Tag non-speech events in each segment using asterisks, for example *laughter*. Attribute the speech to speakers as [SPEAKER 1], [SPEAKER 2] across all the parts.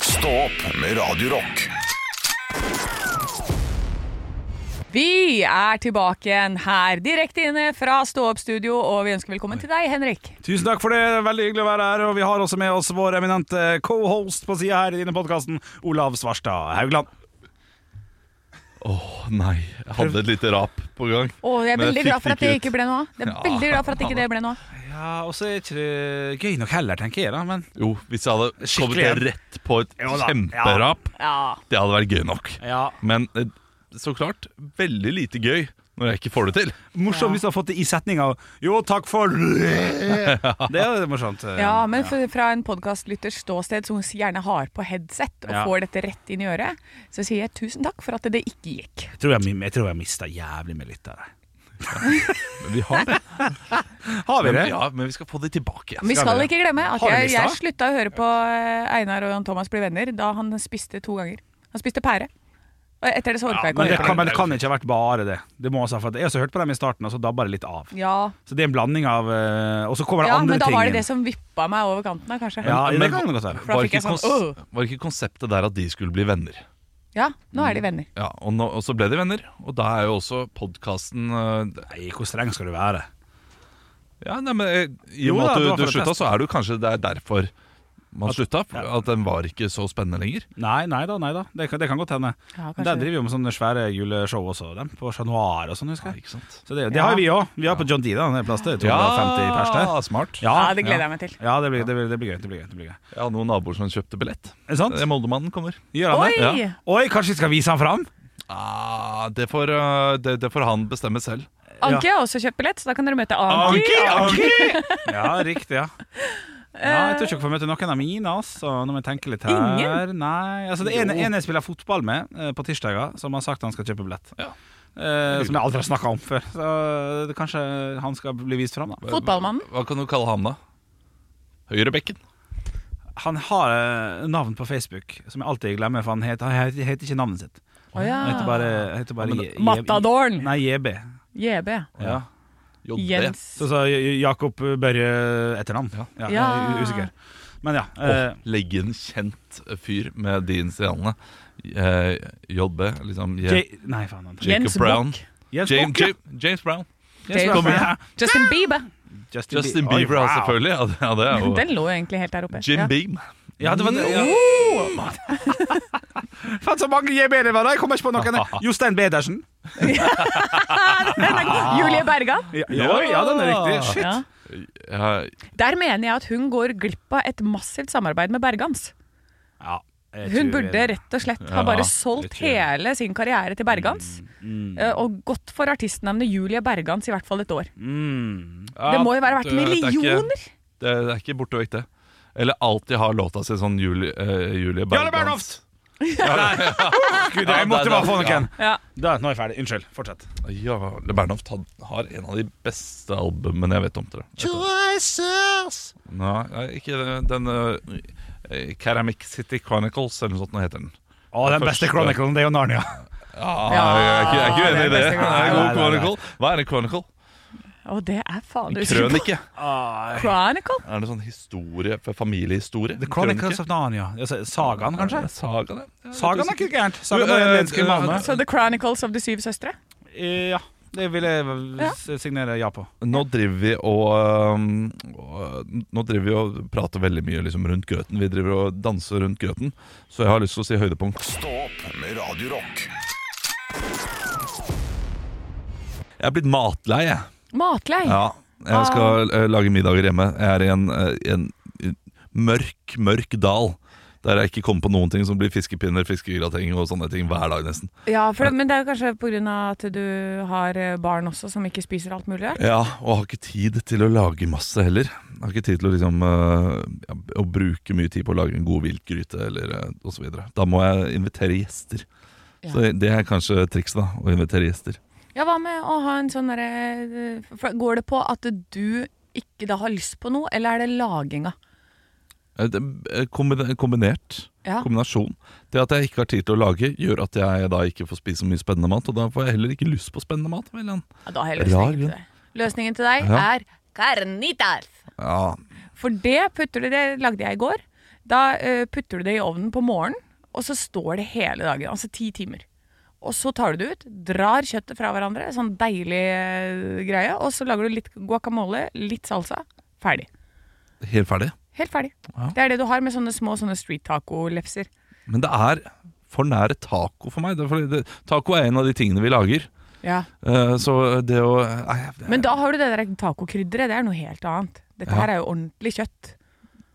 [SPEAKER 1] Stå opp med Radio Rock.
[SPEAKER 2] Vi er tilbake igjen her, direkte inne fra Stå opp-studio, og vi ønsker velkommen til deg, Henrik.
[SPEAKER 3] Tusen takk for det, veldig hyggelig å være her. Og vi har også med oss vår eminente co-host på sida her i denne podkasten, Olav Svarstad Haugland.
[SPEAKER 4] Åh, nei. Jeg hadde et lite rap på gang.
[SPEAKER 2] Og jeg er
[SPEAKER 4] Men jeg
[SPEAKER 2] veldig
[SPEAKER 4] fikk
[SPEAKER 2] glad for
[SPEAKER 4] det
[SPEAKER 2] at det
[SPEAKER 4] ikke
[SPEAKER 2] ikke ble noe av. Det er
[SPEAKER 4] Ja.
[SPEAKER 2] veldig glad for at ikke det ble noe av.
[SPEAKER 3] Ja, og så er ikke det gøy nok heller, tenker jeg da. Men
[SPEAKER 4] Jo, hvis jeg hadde kommet
[SPEAKER 3] Skikkelig, ja.
[SPEAKER 4] rett på et
[SPEAKER 3] Jo da,
[SPEAKER 4] kjemperap,
[SPEAKER 2] Ja.
[SPEAKER 4] det hadde vært gøy nok.
[SPEAKER 3] ja.
[SPEAKER 4] Men eh, så klart, veldig lite gøy når jeg ikke får det til.
[SPEAKER 3] morsomt hvis du har fått det i setninga. Jo, takk for *laughs* Det er jo morsomt.
[SPEAKER 2] ja, men for, fra en podkastlytters ståsted som gjerne har på headset og
[SPEAKER 3] Ja.
[SPEAKER 2] får dette rett inn i øret, så sier jeg tusen takk for at det ikke gikk.
[SPEAKER 3] Jeg tror jeg, jeg, tror jeg mista jævlig med litt av det.
[SPEAKER 4] Men vi har det.
[SPEAKER 3] *laughs* Har vi
[SPEAKER 4] Men,
[SPEAKER 3] det?
[SPEAKER 4] ja, men vi skal få det tilbake
[SPEAKER 2] Men vi
[SPEAKER 4] igjen.
[SPEAKER 2] skal
[SPEAKER 3] vi det?
[SPEAKER 2] ikke glemme at
[SPEAKER 3] Har du
[SPEAKER 2] jeg,
[SPEAKER 3] mista?
[SPEAKER 2] jeg slutta å høre på eh, Einar og Jan Thomas bli venner da han spiste to ganger. Han spiste pære. Og etter det så orka jeg ikke
[SPEAKER 3] Men
[SPEAKER 2] å
[SPEAKER 3] det
[SPEAKER 2] høre på
[SPEAKER 3] kan, men det kan ikke ha vært bare det. Det må også, ha- for at Jeg har også hørt på dem i starten, og så dabba det litt av.
[SPEAKER 2] det. Ja,
[SPEAKER 3] Så det er en blanding av eh, Og så kommer det
[SPEAKER 2] ja
[SPEAKER 3] andre
[SPEAKER 2] men da
[SPEAKER 3] ting.
[SPEAKER 2] var det
[SPEAKER 3] inn.
[SPEAKER 2] det som vippa meg over kanten, da, kanskje.
[SPEAKER 3] Ja,
[SPEAKER 4] Men-
[SPEAKER 3] det kan det godt være.
[SPEAKER 2] For da
[SPEAKER 4] Var
[SPEAKER 2] fikk
[SPEAKER 4] ikke,
[SPEAKER 2] jeg sånn
[SPEAKER 4] kons
[SPEAKER 2] «Åh!»
[SPEAKER 4] var ikke konseptet der at de skulle bli venner?
[SPEAKER 2] Ja, nå er de venner.
[SPEAKER 4] Ja, og, nå, og så ble de venner, og da er jo også podkasten
[SPEAKER 3] Nei, hvor streng skal du være?
[SPEAKER 4] Ja, nei, men eh, i
[SPEAKER 3] Jo
[SPEAKER 4] og med
[SPEAKER 3] da,
[SPEAKER 4] at
[SPEAKER 3] det
[SPEAKER 4] du,
[SPEAKER 3] var for
[SPEAKER 4] du
[SPEAKER 3] å
[SPEAKER 4] slutta,
[SPEAKER 3] teste.
[SPEAKER 4] så er det jo kanskje det er derfor man slutta. for
[SPEAKER 3] ja.
[SPEAKER 4] At den var ikke så spennende lenger.
[SPEAKER 3] Nei, nei da, nei da. Det kan, det kan godt hende.
[SPEAKER 2] Ja, kanskje
[SPEAKER 3] Der
[SPEAKER 2] det.
[SPEAKER 3] driver vi jo med sånne svære juleshow også, dem, på Chat Noir og sånn,
[SPEAKER 4] Ja,
[SPEAKER 3] husker jeg.
[SPEAKER 4] ikke sant?
[SPEAKER 3] Så det, det har vi òg. Vi har på John D, da. Det er plass til 250 pers der.
[SPEAKER 4] smart.
[SPEAKER 2] Ja, det gleder jeg meg til.
[SPEAKER 3] Ja, det blir, det blir, det blir gøy. Det blir gøy, det blir gøy.
[SPEAKER 4] Jeg hadde noen naboer som kjøpte billett.
[SPEAKER 3] Er det sant?
[SPEAKER 4] Eh, Moldemannen kommer.
[SPEAKER 3] Gjør han det?
[SPEAKER 2] Oi!
[SPEAKER 4] Ja.
[SPEAKER 3] Oi, kanskje vi skal vise han fram?
[SPEAKER 4] Ah, det, får, eh, det, det får han bestemme selv.
[SPEAKER 2] Anki har også kjøpt billett, så da kan dere møte Anki.
[SPEAKER 3] *laughs* Ja, riktig, ja. Ja, jeg tror ikke jeg får møte noen av mine. Altså, når jeg tenker litt her
[SPEAKER 2] Ingen?
[SPEAKER 3] Nei, altså Det ene, ene jeg spiller fotball med eh, på tirsdager, som har sagt han skal kjøpe billett.
[SPEAKER 4] Ja.
[SPEAKER 3] Eh, som jeg aldri har snakka om før. Så det, kanskje han skal bli vist fram, da.
[SPEAKER 2] Fotballmannen.
[SPEAKER 4] Eh, Hva kan du kalle ham, da? Høyrebekken.
[SPEAKER 3] Han har eh, navn på Facebook som jeg alltid glemmer, for han heter, han heter, heter ikke navnet sitt.
[SPEAKER 2] Å ja.
[SPEAKER 3] Han heter bare, heter bare Je- Je-
[SPEAKER 2] Matadoren.
[SPEAKER 3] Nei, JB.
[SPEAKER 2] JB.
[SPEAKER 3] Ja.
[SPEAKER 4] Jo, det.
[SPEAKER 2] Jens.
[SPEAKER 3] Så sa J- Jakob Børre etternavn. Ja. jeg er
[SPEAKER 2] Ja.
[SPEAKER 3] u- Usikker. Men ja.
[SPEAKER 4] Åh,
[SPEAKER 3] eh,
[SPEAKER 4] legg inn kjent fyr med de initialene. Eh, JB, liksom J
[SPEAKER 3] J nei, faen. han-
[SPEAKER 4] Jacob
[SPEAKER 2] Jens
[SPEAKER 4] Brown.
[SPEAKER 2] Bock.
[SPEAKER 3] Jens
[SPEAKER 4] James,
[SPEAKER 3] Bock, ja.
[SPEAKER 4] James Brown.
[SPEAKER 3] Jens
[SPEAKER 2] James
[SPEAKER 3] Bock,
[SPEAKER 2] Brown.
[SPEAKER 3] ja.
[SPEAKER 2] Justin Bieber.
[SPEAKER 4] Justin
[SPEAKER 3] Bie- Oi,
[SPEAKER 4] Bieber, ja,
[SPEAKER 3] wow.
[SPEAKER 4] selvfølgelig. Ja, det, ja, det er jo
[SPEAKER 2] Den lå jo egentlig helt der oppe.
[SPEAKER 4] Jim
[SPEAKER 2] Ja.
[SPEAKER 4] Beam.
[SPEAKER 3] Ja, det var det. Ja. *laughs* Faen, så mange JB det var da! Jeg kommer ikke på *laughs* noen. Jostein Bedersen.
[SPEAKER 2] Julie Bergan.
[SPEAKER 3] Ja, ja, ja, den er riktig. Shit.
[SPEAKER 2] Ja.
[SPEAKER 4] Ja,
[SPEAKER 2] Der mener jeg at hun går glipp av et massivt samarbeid med Bergans.
[SPEAKER 3] Ja, jeg
[SPEAKER 2] Hun
[SPEAKER 3] tror-
[SPEAKER 2] burde rett og slett ha
[SPEAKER 4] Ja,
[SPEAKER 2] bare
[SPEAKER 4] jeg
[SPEAKER 2] solgt
[SPEAKER 3] tror jeg.
[SPEAKER 2] hele sin karriere til Bergans. eh, Og gått for artistnavnet Julie Bergans i hvert fall et år.
[SPEAKER 3] mm.
[SPEAKER 2] Det må jo være verdt
[SPEAKER 4] det er ikke-
[SPEAKER 2] millioner!
[SPEAKER 4] Det, det er ikke borte vekk, det. Eller alltid har låta si sånn Julie, eh, Julie
[SPEAKER 3] Jarle
[SPEAKER 4] Bergdans.
[SPEAKER 3] Bernhoft! Gud, jeg måtte bare få noen.
[SPEAKER 2] Ja.
[SPEAKER 3] Da, nå er jeg ferdig. Unnskyld. Fortsett.
[SPEAKER 4] Jarle Bernhoft had- har en av de beste albumene jeg vet om. Tror jeg. Nei, nei, ikke det- den eh, Ceramic City Chronicles, eller noe sånt nå heter den.
[SPEAKER 3] Å, den
[SPEAKER 4] Første-
[SPEAKER 3] beste chronicalen, det er jo Narnia.
[SPEAKER 4] Ja, jeg, er ikke, jeg er ikke uenig i
[SPEAKER 2] det er
[SPEAKER 4] det.
[SPEAKER 2] beste
[SPEAKER 4] det er en
[SPEAKER 3] Nei,
[SPEAKER 4] god
[SPEAKER 3] nei, nei.
[SPEAKER 4] chronicle. Hva er en chronicle?
[SPEAKER 2] Og det er fader
[SPEAKER 4] En krønike.
[SPEAKER 3] Ah,
[SPEAKER 2] Chronicle?
[SPEAKER 4] Er det sånn historie for familiehistorie?
[SPEAKER 3] The Chronicles of Narnia. Altså, Sagaen, kanskje?
[SPEAKER 4] Saga, det. Jeg er litt
[SPEAKER 3] Sagaen er
[SPEAKER 4] usikker.
[SPEAKER 3] ikke gærent. Sagaen er en menneske i Malmö.
[SPEAKER 2] Så The Chronicles of the Syv Søstre?
[SPEAKER 3] eh, Ja, det vil jeg vel
[SPEAKER 2] Ja.
[SPEAKER 3] s- signere ja på.
[SPEAKER 4] Nå driver vi og, um, og Nå driver vi og prater veldig mye liksom, rundt grøten. Vi driver og danser rundt grøten, så jeg har lyst til å si høydepunkt.
[SPEAKER 1] Stå opp med Radio Rock.
[SPEAKER 4] Jeg er blitt matlei, jeg.
[SPEAKER 2] Matlei.
[SPEAKER 4] Ja, jeg skal eh, lage middager hjemme. Jeg er i en, eh, i en eh, mørk, mørk dal. Der jeg ikke kommer på noen ting som blir fiskepinner, fiskegrateng og sånne ting hver dag nesten.
[SPEAKER 2] Ja, for, det- men det er jo kanskje pga. at du har eh, barn også som ikke spiser alt mulig rart.
[SPEAKER 4] Ja, og har ikke tid til å lage masse heller. Jeg har ikke tid til å liksom eh, ja, Å bruke mye tid på å lage en god viltgryte eller eh, og så videre Da må jeg invitere gjester. Så det er kanskje trikset, da. Å invitere gjester.
[SPEAKER 2] Ja, hva med å ha en sånn derre eh, for Går det på at du ikke da har lyst på noe, eller er det laginga?
[SPEAKER 4] Eh, det- eh, kombine- Kombinert.
[SPEAKER 2] Ja.
[SPEAKER 4] Kombinasjon. Det at jeg ikke har tid til å lage, gjør at jeg da ikke får spise så mye spennende mat. Og da får jeg heller ikke lyst på spennende mat. av en eller annen-
[SPEAKER 2] Ja, da har jeg
[SPEAKER 4] Rar
[SPEAKER 2] løsningen til
[SPEAKER 4] grunn.
[SPEAKER 2] deg. Løsningen til deg
[SPEAKER 4] Ja.
[SPEAKER 2] er carnitas.
[SPEAKER 4] Ja,
[SPEAKER 2] For det putter du det lagde jeg i går. Da eh, putter du det i ovnen på morgenen, og så står det hele dagen. Altså ti timer. Og så tar du det ut, drar kjøttet fra hverandre, sånn deilig eh, greie, og så lager du litt guacamole, litt salsa. Ferdig.
[SPEAKER 4] Helt ferdig.
[SPEAKER 2] Helt ferdig.
[SPEAKER 4] Ja.
[SPEAKER 2] Det er det du har med sånne små sånne street taco-lefser.
[SPEAKER 4] Men det er for nære taco for meg. Det er fordi det, taco er en av de tingene vi lager.
[SPEAKER 2] Ja.
[SPEAKER 4] Eh, så det å eh, nei, det,
[SPEAKER 2] Men da har du det der tacokrydderet, det er noe helt annet. Dette
[SPEAKER 4] Ja.
[SPEAKER 2] her er jo ordentlig kjøtt.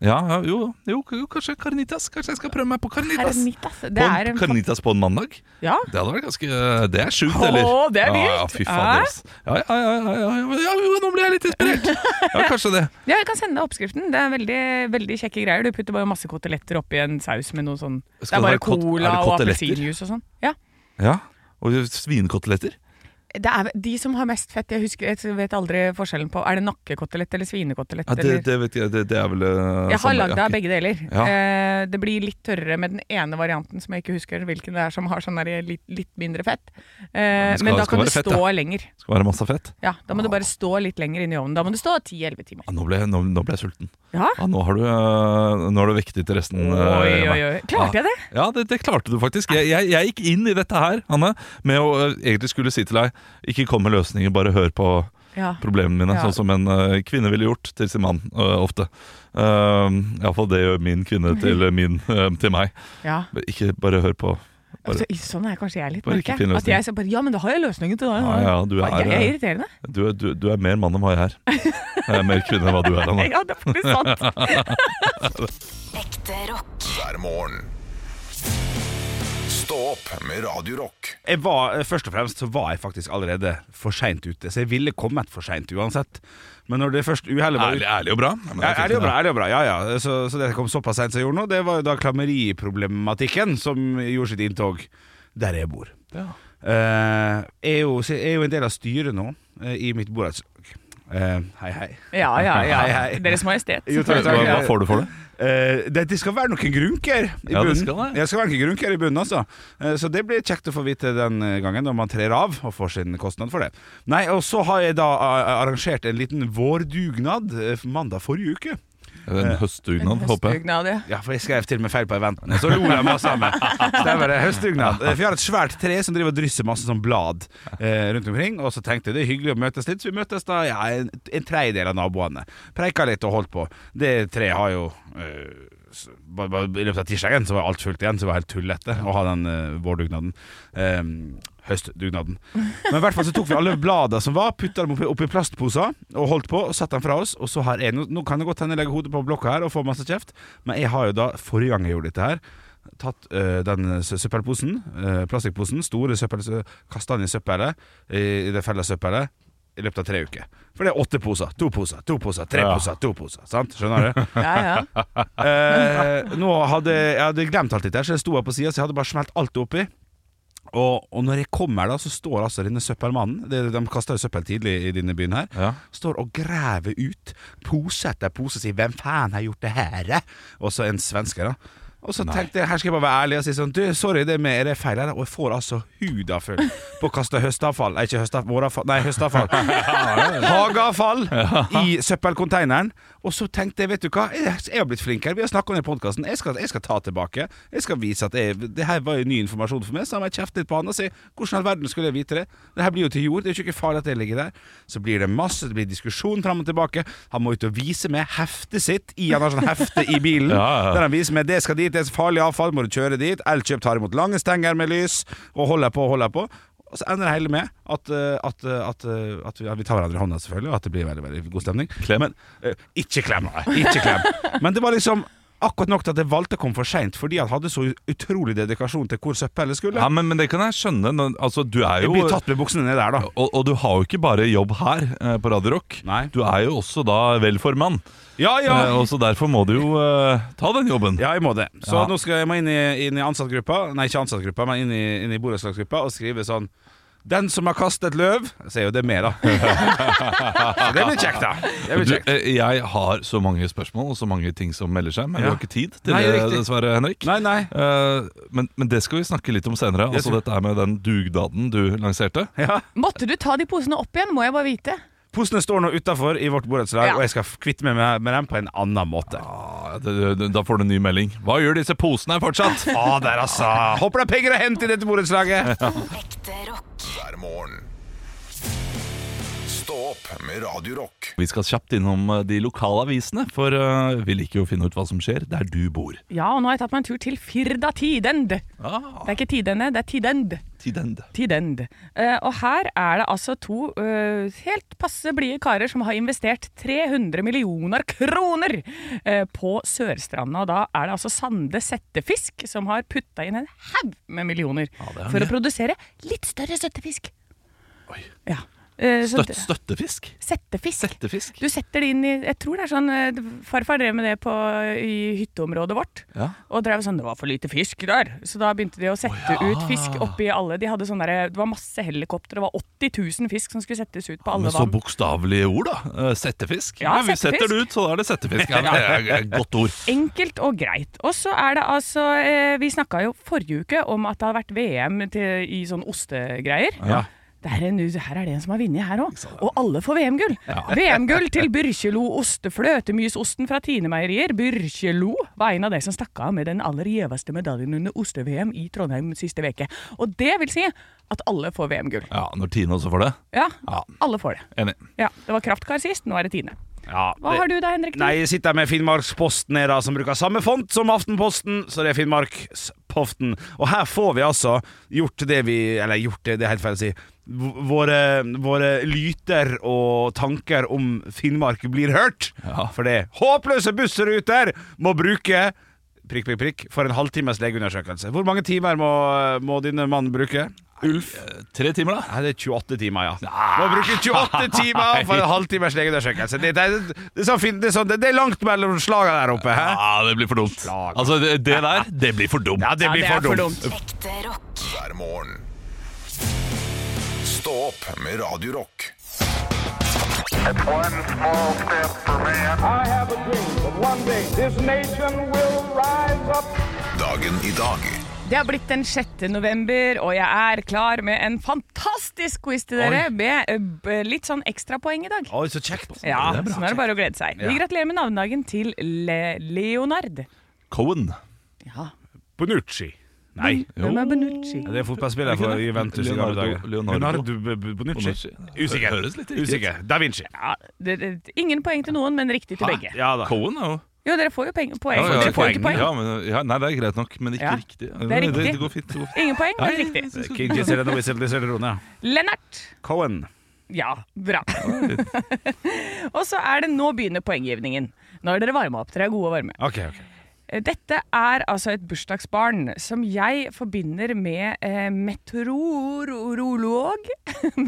[SPEAKER 4] ja, ja, jo, jo, k- jo, kanskje carnitas. Kanskje jeg skal prøve meg på carnitas.
[SPEAKER 2] Herrenitas.
[SPEAKER 4] På
[SPEAKER 2] Det er
[SPEAKER 4] en,
[SPEAKER 2] en
[SPEAKER 4] carnitas på en mandag?
[SPEAKER 2] Ja.
[SPEAKER 4] Det hadde vært ganske Det er sjukt,
[SPEAKER 2] Åh,
[SPEAKER 4] eller?
[SPEAKER 2] det er
[SPEAKER 4] Ja, ja,
[SPEAKER 2] vilt.
[SPEAKER 4] fy fader,
[SPEAKER 2] Hæ?
[SPEAKER 4] ass. Ja, ja, ja, ja, ja, ja, ja, jo, nå ble jeg litt inspirert. Ja, kanskje
[SPEAKER 2] *laughs*
[SPEAKER 4] det.
[SPEAKER 2] ja, jeg kan sende deg oppskriften. Det er veldig, veldig kjekke greier. Du putter bare masse koteletter oppi en saus med noe sånn Det er
[SPEAKER 4] Skal det
[SPEAKER 2] bare
[SPEAKER 4] være kot-
[SPEAKER 2] cola
[SPEAKER 4] er det
[SPEAKER 2] og
[SPEAKER 4] koteletter?
[SPEAKER 2] appelsinjuice og sånn. Ja.
[SPEAKER 4] Ja, Og svinekoteletter.
[SPEAKER 2] Det er de som har mest fett. Jeg husker, jeg vet aldri forskjellen på Er det nakkekotelett eller svinekotelett?
[SPEAKER 4] Ja, det,
[SPEAKER 2] eller?
[SPEAKER 4] det vet jeg, det, det er vel eh,
[SPEAKER 2] Jeg har
[SPEAKER 4] samme-
[SPEAKER 2] lagd
[SPEAKER 4] ja,
[SPEAKER 2] av begge deler.
[SPEAKER 4] Ja.
[SPEAKER 2] Eh, det blir litt tørrere med den ene varianten som jeg ikke husker hvilken det er, som har sånn der litt, litt mindre fett. Eh,
[SPEAKER 4] det skal-
[SPEAKER 2] men da
[SPEAKER 4] det skal
[SPEAKER 2] kan du
[SPEAKER 4] være fett, Ah.
[SPEAKER 2] stå lenger.
[SPEAKER 4] Skal være masse fett.
[SPEAKER 2] Ja, Da må du bare stå litt lenger inn i ovnen. Da må du stå 10-11 timer.
[SPEAKER 4] Ja, nå, ble, jeg- nå, nå ble jeg sulten.
[SPEAKER 2] Ja,
[SPEAKER 4] Ja, nå har du, eh, nå har du vekket til resten. eh,
[SPEAKER 2] Oi,
[SPEAKER 4] Emma.
[SPEAKER 2] oi, oi. Klarte jeg det?
[SPEAKER 4] Ja, ja, det, det klarte du faktisk. Jeg, jeg, jeg gikk inn i dette her, Hanne, med å eh, egentlig skulle si til deg ikke kom med løsninger, bare hør på
[SPEAKER 2] Ja.
[SPEAKER 4] problemene mine.
[SPEAKER 2] Ja.
[SPEAKER 4] Sånn som en eh, kvinne ville gjort til sin mann eh, ofte. Uh, Iallfall det gjør min kvinne til, min, eh, til meg.
[SPEAKER 2] ja.
[SPEAKER 4] Men Ikke bare hør på.
[SPEAKER 2] Altså, sånn er kanskje jeg litt,
[SPEAKER 4] Bare ikke
[SPEAKER 2] merker
[SPEAKER 4] finn
[SPEAKER 2] jeg.
[SPEAKER 4] løsning.
[SPEAKER 2] At jeg så bare Ja, men da har jeg løsningen til deg.
[SPEAKER 4] Ja, ja, du er, eh,
[SPEAKER 2] jeg, jeg er irriterende.
[SPEAKER 4] du, er- du, du er mer mann enn hva jeg er. Jeg er mer kvinne enn hva du
[SPEAKER 2] *laughs*
[SPEAKER 4] er, Hanne.
[SPEAKER 2] Ja, det er faktisk sant.
[SPEAKER 5] Ekte rock.
[SPEAKER 1] hver morgen. Stå opp med Radio Rock.
[SPEAKER 3] jeg var, eh, først og fremst så var jeg faktisk allerede for seint ute, så jeg ville kommet for seint uansett. Men når det først uhellet var
[SPEAKER 4] Ærlig,
[SPEAKER 3] ute
[SPEAKER 4] ærlig og bra. Ja, men
[SPEAKER 3] ja,
[SPEAKER 4] jeg
[SPEAKER 3] ærlig og
[SPEAKER 4] fikk
[SPEAKER 3] bra,
[SPEAKER 4] det.
[SPEAKER 3] ærlig og bra, ja, ja. Så, så det kom såpass seint som jeg gjorde nå, det var jo da klammeriproblematikken som gjorde sitt inntog der jeg bor.
[SPEAKER 4] Ja.
[SPEAKER 3] Eh, jeg, er jo, så jeg er jo en del av styret nå eh, i mitt borettslag. Eh, hei, hei.
[SPEAKER 2] Ja, ja, ja.
[SPEAKER 3] Hei, hei.
[SPEAKER 2] Deres Majestet.
[SPEAKER 3] Jo, takk,
[SPEAKER 4] Hva,
[SPEAKER 3] takk.
[SPEAKER 4] hva får du for det?
[SPEAKER 3] Eh, det, det skal være noen grunker i
[SPEAKER 4] Ja,
[SPEAKER 3] bunnen.
[SPEAKER 4] det skal det.
[SPEAKER 3] det skal være noen grunker i bunnen altså. Eh, Så det blir kjekt å få vite den eh, gangen når man trer av og får sin kostnad for det. Nei, Og så har jeg da eh, arrangert en liten vårdugnad eh, mandag forrige uke.
[SPEAKER 4] En høstdugnad, håper jeg.
[SPEAKER 2] Høstdugnad, ja.
[SPEAKER 3] Ja, for jeg skrev til og med feil på eventen, og så lo jeg masse av meg. Stemmer det. Høstdugnad. Eh, For jeg har et svært tre som driver og drysser masse sånn blad eh, rundt omkring, og så tenkte jeg det er hyggelig å møtes litt, så vi møtes da ja, en, en tredjedel av naboene. Preika litt og holdt på. Det treet har jo eh, s- bare- bare I løpet av tirsdagen så var alt fullt igjen, så det var helt tullete å ha den eh, vårdugnaden. Eh, høstdugnaden. Men i hvert fall så tok vi alle bladene som var, putta dem oppi, oppi plastposer og holdt på, og satte dem fra oss. Og så har jeg, nå, nå kan det godt hende jeg legger hodet på blokka her og får masse kjeft, men jeg har jo da, forrige gang jeg gjorde dette her, tatt øh, den sø- søppelposen, øh, plastikkposen, store søppel, sø- kastanjesøppelet, i i det fellessøppelet, i løpet av tre uker. For det er åtte poser, to poser, to poser, tre
[SPEAKER 4] Ja.
[SPEAKER 3] poser, to poser. Sant? Skjønner du?
[SPEAKER 2] ja, ja.
[SPEAKER 4] *laughs*
[SPEAKER 3] Eh, nå hadde jeg hadde glemt alt dette, her, så jeg sto her på sida, så jeg hadde bare smelt alt oppi. Og, og når jeg kommer, da, så står altså denne søppelmannen det- De kaster jo søppel tidlig i denne byen her.
[SPEAKER 4] Ja.
[SPEAKER 3] Står og graver ut pose etter pose og sier 'Hvem faen har gjort det her?' Og så en svenske, da. Og så tenkte jeg her skal jeg bare være ærlig og si sånn Du, sorry, det med, er det feil her? Og jeg får altså huda full på å kaste høstavfall Nei, ikke høstavfall, våravfall Nei, høstavfall. Hageavfall i søppelkonteineren. Og så tenkte jeg, vet du hva, jeg jeg har blitt flink her. Vi har snakka om det i podkasten. Jeg, skal- jeg skal ta tilbake. Jeg skal vise at jeg, det her var jo ny informasjon for meg. Så har jeg kjeftet litt på han og si hvordan i all verden skulle jeg vite det? Det her blir jo til jord. Det er jo ikke farlig at jeg ligger der. Så blir det masse, det blir diskusjon fram og tilbake. Han må ut og vise meg heftet sitt. I, han har sånn hefte i bilen.
[SPEAKER 4] *laughs* Ja, ja.
[SPEAKER 3] Der han viser meg det skal dit, det er så farlig avfall, må du kjøre dit. Elkjøp tar imot lange stenger med lys, og holder på og holder på. Og så ender det hele med at, eh, at, eh, at, eh, at vi, ja, vi tar hverandre i hånda, selvfølgelig, og at det blir veldig veldig god stemning.
[SPEAKER 4] Klem.
[SPEAKER 3] Men, eh, ikke klem, nei. Ikke klem. Men det var liksom akkurat nok til at jeg valgte å komme for seint, fordi han hadde så utrolig dedikasjon til hvor søppelet skulle.
[SPEAKER 4] Ja, men, men det kan jeg skjønne. Nå- Altså, du er
[SPEAKER 3] jeg
[SPEAKER 4] jo
[SPEAKER 3] blir tatt med buksene ned der, da.
[SPEAKER 4] og, og du har jo ikke bare jobb her eh, på Radio Rock.
[SPEAKER 3] Nei.
[SPEAKER 4] Du er jo også da velformann.
[SPEAKER 3] Ja, ja.
[SPEAKER 4] Eh, og så derfor må du jo eh, ta den jobben.
[SPEAKER 3] Ja, jeg må det. Så
[SPEAKER 4] Ja.
[SPEAKER 3] nå skal jeg må inn i, inn i ansattgruppa, nei, ikke ansattgruppa, men inn i, inn i borettslagsgruppa og skrive sånn Den som har kastet løv Så er jo det med, da. Så det blir kjekt, da. Det blir
[SPEAKER 4] Du,
[SPEAKER 3] kjekt.
[SPEAKER 4] eh, jeg har så mange spørsmål og så mange ting som melder seg, men vi
[SPEAKER 3] Ja.
[SPEAKER 4] har ikke tid til
[SPEAKER 3] Nei,
[SPEAKER 4] det,
[SPEAKER 3] riktig.
[SPEAKER 4] dessverre, Henrik.
[SPEAKER 3] Nei, nei.
[SPEAKER 4] Eh, men, men det skal vi snakke litt om senere.
[SPEAKER 3] Det
[SPEAKER 4] Altså
[SPEAKER 3] skal-
[SPEAKER 4] dette her med den dugnaden du lanserte.
[SPEAKER 3] Ja.
[SPEAKER 2] Måtte du ta de posene opp igjen, må jeg bare vite.
[SPEAKER 3] Posene står nå utafor i vårt borettslag,
[SPEAKER 2] Ja.
[SPEAKER 3] og jeg skal f- kvitte meg med, med dem på en annen måte.
[SPEAKER 4] Ah, det- det- da får du en ny melding. Hva gjør disse posene her
[SPEAKER 3] *laughs*
[SPEAKER 4] fortsatt?
[SPEAKER 3] Fader, altså! Håper det er penger å hente i dette borettslaget!
[SPEAKER 5] Ekte rock.
[SPEAKER 1] hver morgen. Stå opp med Radio Rock.
[SPEAKER 4] Vi skal kjapt innom eh, de lokale avisene, for eh, vi liker jo å finne ut hva som skjer der du bor.
[SPEAKER 2] Ja, og nå har jeg tatt meg en tur til Firda Tidend.
[SPEAKER 4] Ah,
[SPEAKER 2] Det er ikke Tidende, det er Tidend.
[SPEAKER 4] tidende.
[SPEAKER 2] Tidend. Eh, og her er det altså to eh, helt passe blide karer som har investert 300 millioner kroner eh, på Sørstranda. Og da er det altså Sande Settefisk som har putta inn en haug med millioner
[SPEAKER 4] det er
[SPEAKER 2] for
[SPEAKER 4] mye.
[SPEAKER 2] å produsere litt større settefisk. Ja. Eh, så
[SPEAKER 4] Støtt, støttefisk?
[SPEAKER 2] settefisk.
[SPEAKER 4] Settefisk?
[SPEAKER 2] Du setter det inn i Jeg tror det er sånn eh, Farfar drev med det på, i hytteområdet vårt.
[SPEAKER 4] Ja.
[SPEAKER 2] Og drev sånn Det var for lite fisk der! Så da begynte de å sette ut fisk oppi alle. De hadde sånn derre Det var masse helikoptre. Det var 80 000 fisk som skulle settes ut på alle
[SPEAKER 4] Men så
[SPEAKER 2] vann.
[SPEAKER 4] bokstavelige ord, da. Eh, Settefisk.
[SPEAKER 2] Ja,
[SPEAKER 4] vi
[SPEAKER 2] settefisk.
[SPEAKER 4] setter det ut, så da er det settefisk. Ja, det er et godt ord.
[SPEAKER 2] Enkelt og greit. Og så er det altså eh, Vi snakka jo forrige uke om at det har vært VM til, i sånn ostegreier.
[SPEAKER 3] Ja.
[SPEAKER 2] Det her, er en, her er det en som har vunnet her òg, og alle får VM-gull. VM-gull til Byrkjelo ostefløtemysosten fra Tine Meierier. Byrkjelo var en av de som stakk av med den aller gjeveste medaljen under oste-VM i Trondheim siste veke. Og det vil si at alle får VM-gull.
[SPEAKER 4] Ja, Når Tine også får det.
[SPEAKER 2] Ja,
[SPEAKER 4] Ja.
[SPEAKER 2] alle får det.
[SPEAKER 4] Enig.
[SPEAKER 2] Ja, Det var Kraftkar sist, nå er det Tine.
[SPEAKER 3] Ja,
[SPEAKER 2] Hva har du da, Henrik?
[SPEAKER 3] Nei, jeg sitter med Finnmarksposten her, da, som bruker samme font som Aftenposten, så det er Finnmarkspoften. Og her får vi altså gjort det vi Eller gjort det, det er helt feil å si. V- Våre, våre lyter og tanker om Finnmark blir hørt. For det håpløse bussruter må bruke prikk, prikk, prikk for en halvtimes legeundersøkelse. Hvor mange timer må, må dine mann bruke?
[SPEAKER 4] Ulf. Eh, Tre timer, da.
[SPEAKER 3] Nei, det er 28 timer, ja. Må bruke 28 timer for en halvtimes legeundersøkelse. Det, det, er- det, er sånn fint- det, er sånn- det er langt mellom slagene der oppe. Hæ?
[SPEAKER 4] Ja, det blir for dumt.
[SPEAKER 3] Slag.
[SPEAKER 4] Altså, det, det der, det blir for dumt.
[SPEAKER 3] Ja, det
[SPEAKER 2] Ja,
[SPEAKER 3] blir
[SPEAKER 2] det er
[SPEAKER 3] for dumt.
[SPEAKER 5] Ekte rock.
[SPEAKER 1] hver morgen. Stå opp med Radio Rock.
[SPEAKER 6] One small step for man.
[SPEAKER 7] I have a dream that one day this nation will rise up.
[SPEAKER 1] Dagen i dag
[SPEAKER 2] Det har blitt den 6. november, og jeg er klar med en fantastisk quiz til dere med eh, b- litt sånn ekstrapoeng i dag.
[SPEAKER 3] Oi, så kjekt.
[SPEAKER 2] Ja,
[SPEAKER 4] det er bra,
[SPEAKER 2] Sånn er det bare å glede seg. Vi gratulerer med navnedagen til Le Leonard.
[SPEAKER 4] Cohen.
[SPEAKER 2] Ja.
[SPEAKER 3] Bonucci. Nei.
[SPEAKER 2] Hvem er Benucci?
[SPEAKER 3] Det er fotballspiller for Juventus i gamle
[SPEAKER 4] Leonardo-
[SPEAKER 3] dager.
[SPEAKER 4] Leonardo.
[SPEAKER 3] B- B- Bonucci.
[SPEAKER 4] Bonucci.
[SPEAKER 3] Usikker.
[SPEAKER 4] Høres litt riktig ut.
[SPEAKER 3] Usikker. Da Vinci.
[SPEAKER 2] Ja, det, det, ingen poeng til noen, men riktig til begge.
[SPEAKER 3] Ja da.
[SPEAKER 4] Cohen er jo
[SPEAKER 2] Jo, dere får jo peng, poeng.
[SPEAKER 4] Ja, ja,
[SPEAKER 2] dere får jo
[SPEAKER 3] poeng.
[SPEAKER 2] ikke poeng.
[SPEAKER 4] Ja, men, ja, nei, det er greit nok, men ikke
[SPEAKER 2] Ja. Det
[SPEAKER 4] riktig.
[SPEAKER 2] er riktig.
[SPEAKER 4] Det, det går fint. Det går fint.
[SPEAKER 2] Ingen poeng, men
[SPEAKER 4] Nei,
[SPEAKER 2] riktig.
[SPEAKER 4] jeg synes-
[SPEAKER 3] King Giselle and the Whistle de Celerone.
[SPEAKER 2] Lennart.
[SPEAKER 3] Cohen.
[SPEAKER 2] Ja, bra. *laughs* og så er det nå begynner poenggivningen. Nå er dere varma opp. Dere er gode og varme.
[SPEAKER 3] Ok, ok.
[SPEAKER 2] Dette er altså et bursdagsbarn som jeg forbinder med eh, meteorolog.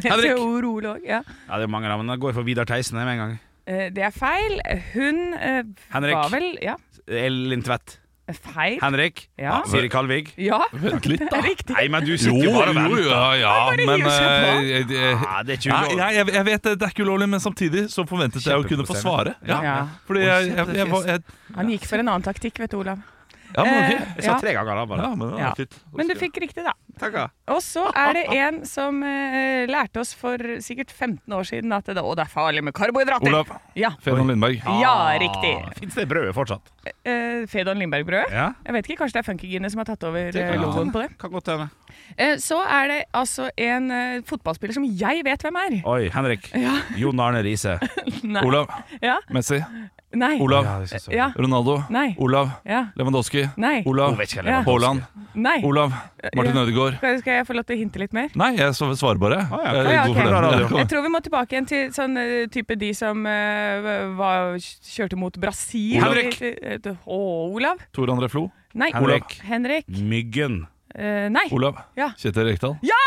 [SPEAKER 2] *laughs* meteorolog, ja.
[SPEAKER 3] Ja, det er mange navn. Da går jeg for Vidar Theisen her med en gang.
[SPEAKER 2] Eh, det er feil. Hun eh,
[SPEAKER 3] Henrik.
[SPEAKER 2] var vel Ja,
[SPEAKER 3] Elin Tvedt.
[SPEAKER 2] feil.
[SPEAKER 3] Henrik.
[SPEAKER 2] Ja.
[SPEAKER 3] Siri Kalvig.
[SPEAKER 2] ja, *laughs*
[SPEAKER 4] Vent litt, da.
[SPEAKER 2] riktig.
[SPEAKER 3] Nei, men du
[SPEAKER 4] Jo,
[SPEAKER 3] sitter jo bare og
[SPEAKER 4] jo,
[SPEAKER 3] venter.
[SPEAKER 4] ja, ja,
[SPEAKER 2] bare
[SPEAKER 4] men
[SPEAKER 2] hiver seg på.
[SPEAKER 4] eh, jeg- jeg-
[SPEAKER 3] Ja, det er ikke
[SPEAKER 4] Nei,
[SPEAKER 3] ulovlig.
[SPEAKER 4] jeg, jeg vet det, det er ikke ulovlig, men samtidig så forventet jeg å kunne få svare. Ja,
[SPEAKER 2] Ja.
[SPEAKER 4] Fordi jeg, jeg, jeg, var- jeg,
[SPEAKER 2] Han gikk for en annen taktikk, vet du, Olav.
[SPEAKER 4] Ja, men ok.
[SPEAKER 2] Eh,
[SPEAKER 3] Jeg sa tre ganger da, bare.
[SPEAKER 4] Ja, men det
[SPEAKER 2] Ja.
[SPEAKER 4] er fint.
[SPEAKER 2] Men du fikk riktig, da.
[SPEAKER 3] Takk, ja.
[SPEAKER 2] Og så er
[SPEAKER 3] *laughs*
[SPEAKER 2] det en som eh, lærte oss for sikkert 15 år siden at det, å, det er farlig med karbohydrater.
[SPEAKER 4] Olav.
[SPEAKER 2] Ja.
[SPEAKER 4] Fedon Lindberg.
[SPEAKER 3] Ah.
[SPEAKER 2] ja, riktig.
[SPEAKER 3] Fins det brødet fortsatt?
[SPEAKER 2] Eh, Fedon Lindberg-brødet.
[SPEAKER 3] Ja.
[SPEAKER 2] Jeg vet ikke, Kanskje det er Funkygine som har tatt over eh,
[SPEAKER 3] kan
[SPEAKER 2] logoen på det.
[SPEAKER 3] Kan godt hende.
[SPEAKER 2] Eh, Så er det altså en eh, fotballspiller som jeg vet hvem er.
[SPEAKER 3] Oi, Henrik.
[SPEAKER 2] Ja.
[SPEAKER 3] Jon Arne Riise.
[SPEAKER 2] Nei.
[SPEAKER 4] Olav.
[SPEAKER 2] Ja.
[SPEAKER 4] Messi.
[SPEAKER 2] Nei.
[SPEAKER 4] Olav.
[SPEAKER 3] Ja, det synes jeg.
[SPEAKER 2] Ja.
[SPEAKER 4] Ronaldo.
[SPEAKER 2] Nei.
[SPEAKER 4] Olav.
[SPEAKER 2] Ja.
[SPEAKER 4] Lewandowski.
[SPEAKER 2] Nei.
[SPEAKER 4] Olav.
[SPEAKER 3] Hun vet ikke hvem
[SPEAKER 2] Ja.
[SPEAKER 4] Haaland.
[SPEAKER 2] Nei.
[SPEAKER 4] Olav. Martin
[SPEAKER 2] Ja.
[SPEAKER 4] Ødegaard.
[SPEAKER 2] Skal skal jeg få lov til å hinte litt mer?
[SPEAKER 4] Nei, jeg så- svarer bare. Eh,
[SPEAKER 3] Ah, ja.
[SPEAKER 4] Jeg er
[SPEAKER 2] Å, ja,
[SPEAKER 4] god for
[SPEAKER 2] ok.
[SPEAKER 4] den.
[SPEAKER 3] Bra radio.
[SPEAKER 4] Ja,
[SPEAKER 2] Jeg tror vi må tilbake igjen til sånn eh, type de som eh, var, kjørte mot Brasil.
[SPEAKER 3] Olav. Henrik.
[SPEAKER 2] Eh, eh, Å, Olav?
[SPEAKER 4] Tor André Flo.
[SPEAKER 2] Nei.
[SPEAKER 3] Henrik.
[SPEAKER 2] Henrik.
[SPEAKER 3] Myggen.
[SPEAKER 2] Eh, nei.
[SPEAKER 4] Olav.
[SPEAKER 2] Ja.
[SPEAKER 4] Kjetil Rekdal.
[SPEAKER 2] Ja!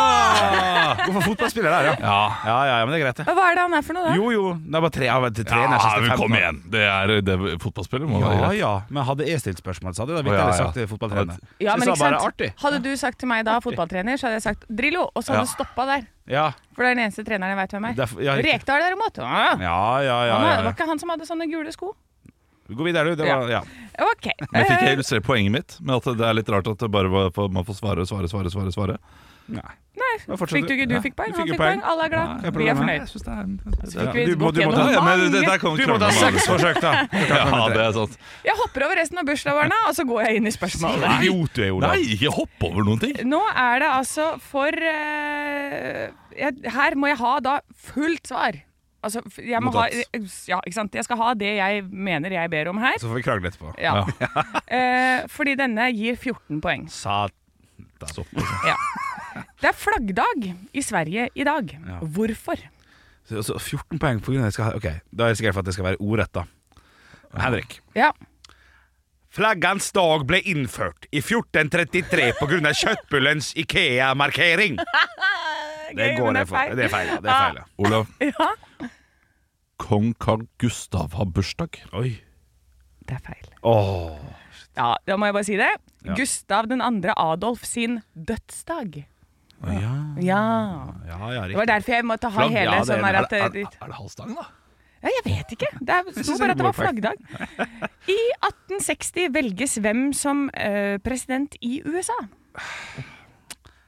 [SPEAKER 4] Ja!
[SPEAKER 3] Hvorfor fotballspiller der, ja?
[SPEAKER 4] Ja.
[SPEAKER 3] Ja, ja, ja, men det er greit, det.
[SPEAKER 2] Hva er det han er for noe, da?
[SPEAKER 3] Jo, jo. Det er bare tre av tre
[SPEAKER 4] Ja,
[SPEAKER 3] neste
[SPEAKER 4] men
[SPEAKER 3] fem
[SPEAKER 4] kom
[SPEAKER 3] nå.
[SPEAKER 4] igjen. Det er, det er fotballspiller. Må være
[SPEAKER 3] Ja,
[SPEAKER 4] greit.
[SPEAKER 3] ja. Men hadde jeg stilt spørsmål, så hadde jeg da
[SPEAKER 4] Å, ja,
[SPEAKER 3] vitterlig
[SPEAKER 4] ja.
[SPEAKER 3] sagt eh,
[SPEAKER 2] Ja,
[SPEAKER 3] fotballtrener. Så
[SPEAKER 2] men
[SPEAKER 3] jeg
[SPEAKER 2] ikke
[SPEAKER 3] sa bare
[SPEAKER 2] sant?
[SPEAKER 3] artig.
[SPEAKER 2] Hadde du sagt til meg da, fotballtrener, så hadde jeg sagt Drillo, og så hadde
[SPEAKER 4] Ja.
[SPEAKER 2] du stoppa der.
[SPEAKER 3] Ja,
[SPEAKER 2] For det er den eneste treneren jeg veit hvem er.
[SPEAKER 3] Derfor- ja, riktig.
[SPEAKER 2] Rekdal derimot, ah,
[SPEAKER 3] ja, ja. ja,
[SPEAKER 2] han var,
[SPEAKER 3] ja,
[SPEAKER 2] var ikke han som hadde sånne gule sko?
[SPEAKER 3] Gå videre, du. Det var, ja.
[SPEAKER 2] Ok.
[SPEAKER 4] Men jeg fikk
[SPEAKER 2] eh,
[SPEAKER 4] jeg illustrere poenget mitt med at det er litt rart at det bare var for, man får svare, svare, svare, svare, svare.
[SPEAKER 3] Nei.
[SPEAKER 2] nei,
[SPEAKER 3] Men fortsatt-
[SPEAKER 2] Eh, Fikk du ikke? Du
[SPEAKER 3] Nei,
[SPEAKER 2] fikk poeng,
[SPEAKER 3] du
[SPEAKER 2] han
[SPEAKER 3] fikk jo
[SPEAKER 2] fikk
[SPEAKER 3] poeng.
[SPEAKER 2] poeng. Alle er
[SPEAKER 3] Nei,
[SPEAKER 2] glad.
[SPEAKER 3] jeg
[SPEAKER 2] Vi
[SPEAKER 3] prøver
[SPEAKER 2] er
[SPEAKER 3] meg.
[SPEAKER 2] fornøyd.
[SPEAKER 4] Jeg synes det er, jeg synes
[SPEAKER 2] Fikk
[SPEAKER 4] det
[SPEAKER 2] vi
[SPEAKER 4] er-
[SPEAKER 3] Du må-
[SPEAKER 2] gått
[SPEAKER 3] du må
[SPEAKER 2] gjennom
[SPEAKER 3] ta-
[SPEAKER 4] ja, men det,
[SPEAKER 2] mange?
[SPEAKER 4] der kan
[SPEAKER 3] Du må ta seks forsøk, da!
[SPEAKER 4] Ja, det er sant.
[SPEAKER 2] Jeg hopper over resten av bursdagsbarna, og så går jeg inn i spørsmålet.
[SPEAKER 3] Idiot du er,
[SPEAKER 4] Nei,
[SPEAKER 3] Olav.
[SPEAKER 4] ikke hopp over noen ting!
[SPEAKER 2] Nå er det altså for eh, jeg, Her må jeg ha da fullt svar. Altså, f- jeg må ha Ja, ikke sant. Jeg skal ha det jeg mener jeg ber om her.
[SPEAKER 3] Så får vi krangle etterpå.
[SPEAKER 2] Ja. *laughs* Eh, fordi denne gir 14 poeng.
[SPEAKER 3] Satan.
[SPEAKER 2] Ja. Det er flaggdag i Sverige i dag. Hvorfor?
[SPEAKER 3] Så, så 14 poeng på grunn av at jeg skal ha Ok, da er det sikkert for at det skal være ordrett, da. Henrik.
[SPEAKER 2] Ja.
[SPEAKER 3] Flaggans dag ble innført i 1433 pga. kjøttbullens
[SPEAKER 2] *laughs*
[SPEAKER 3] Ikea-markering.
[SPEAKER 2] Gøy,
[SPEAKER 3] Det
[SPEAKER 2] men det
[SPEAKER 3] går
[SPEAKER 2] er
[SPEAKER 3] jeg for.
[SPEAKER 2] feil.
[SPEAKER 3] Det er feil. ja, Det er feil ja.
[SPEAKER 4] *laughs* Olav,
[SPEAKER 2] Ja.
[SPEAKER 4] kong Carl Gustav har bursdag.
[SPEAKER 3] Oi.
[SPEAKER 2] Det er feil.
[SPEAKER 3] Åh.
[SPEAKER 2] Ja, da må jeg bare si det.
[SPEAKER 3] Ja.
[SPEAKER 2] Gustav 2. Adolf sin dødsdag.
[SPEAKER 3] Ja,
[SPEAKER 2] Ja.
[SPEAKER 3] ja, ja,
[SPEAKER 2] Det var
[SPEAKER 3] riktig.
[SPEAKER 2] derfor jeg måtte ha
[SPEAKER 3] Flagg,
[SPEAKER 2] hele
[SPEAKER 3] ja, det er-
[SPEAKER 2] sånn her at
[SPEAKER 4] Er, er,
[SPEAKER 2] det-
[SPEAKER 4] er det halsdagen, da?
[SPEAKER 2] Ja, jeg vet ikke. Det er- sto
[SPEAKER 3] synes
[SPEAKER 2] bare
[SPEAKER 3] det
[SPEAKER 2] at det var
[SPEAKER 3] går feil.
[SPEAKER 2] flaggdag. I 1860 velges hvem som eh, president i USA.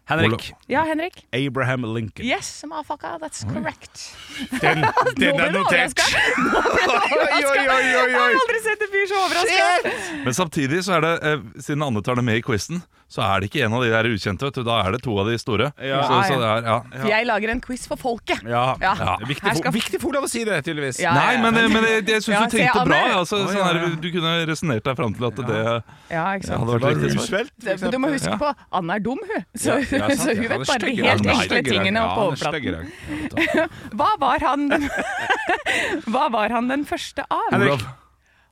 [SPEAKER 3] Henrik.
[SPEAKER 2] Ja, Henrik?
[SPEAKER 3] Abraham Lincoln.
[SPEAKER 2] Yes, motherfucker, that's correct. *laughs*
[SPEAKER 3] Den,
[SPEAKER 2] Nå
[SPEAKER 3] den er
[SPEAKER 2] ble du
[SPEAKER 3] notert. *laughs*
[SPEAKER 2] overrasket.
[SPEAKER 3] Oi, oi, oi, oi,
[SPEAKER 2] Jeg har
[SPEAKER 3] oi.
[SPEAKER 2] aldri sett en fyr så overraska.
[SPEAKER 4] Men samtidig, så er det, eh, siden Anne tar det med i quizen, så er det ikke en av de der ukjente. vet du Da er det to av de store.
[SPEAKER 3] Ja.
[SPEAKER 4] Så, så det er, ja.
[SPEAKER 2] Jeg lager en quiz for folket.
[SPEAKER 3] Ja.
[SPEAKER 2] Ja.
[SPEAKER 3] Det er Viktig,
[SPEAKER 2] Her skal-
[SPEAKER 3] for, viktig for Olav å si det, tydeligvis.
[SPEAKER 2] Ja,
[SPEAKER 4] Nei, men, men jeg, jeg syns
[SPEAKER 2] Ja,
[SPEAKER 4] du
[SPEAKER 2] se,
[SPEAKER 4] tenkte
[SPEAKER 2] Anne.
[SPEAKER 4] bra. ja, Altså,
[SPEAKER 3] Å,
[SPEAKER 4] sånn
[SPEAKER 3] ja,
[SPEAKER 4] her,
[SPEAKER 3] ja.
[SPEAKER 4] du kunne resonnert deg fram til at det
[SPEAKER 2] Ja, ikke sant?
[SPEAKER 4] hadde
[SPEAKER 3] Det
[SPEAKER 4] vært
[SPEAKER 3] var
[SPEAKER 4] riktig. svar.
[SPEAKER 3] Roosevelt. for
[SPEAKER 2] Men du
[SPEAKER 3] eksempel.
[SPEAKER 2] må huske på Anne er dum, hun. Så,
[SPEAKER 3] Ja, sant,
[SPEAKER 2] så
[SPEAKER 3] ja,
[SPEAKER 2] hun
[SPEAKER 3] han er
[SPEAKER 2] vet bare de
[SPEAKER 3] styggere.
[SPEAKER 2] helt
[SPEAKER 3] Han er
[SPEAKER 2] ekle
[SPEAKER 3] styggere.
[SPEAKER 2] tingene på
[SPEAKER 3] Ja, han er
[SPEAKER 2] overflaten.
[SPEAKER 3] styggere.
[SPEAKER 2] Hva var han *laughs* den, Hva var han den første av?
[SPEAKER 3] Henrik. Olav.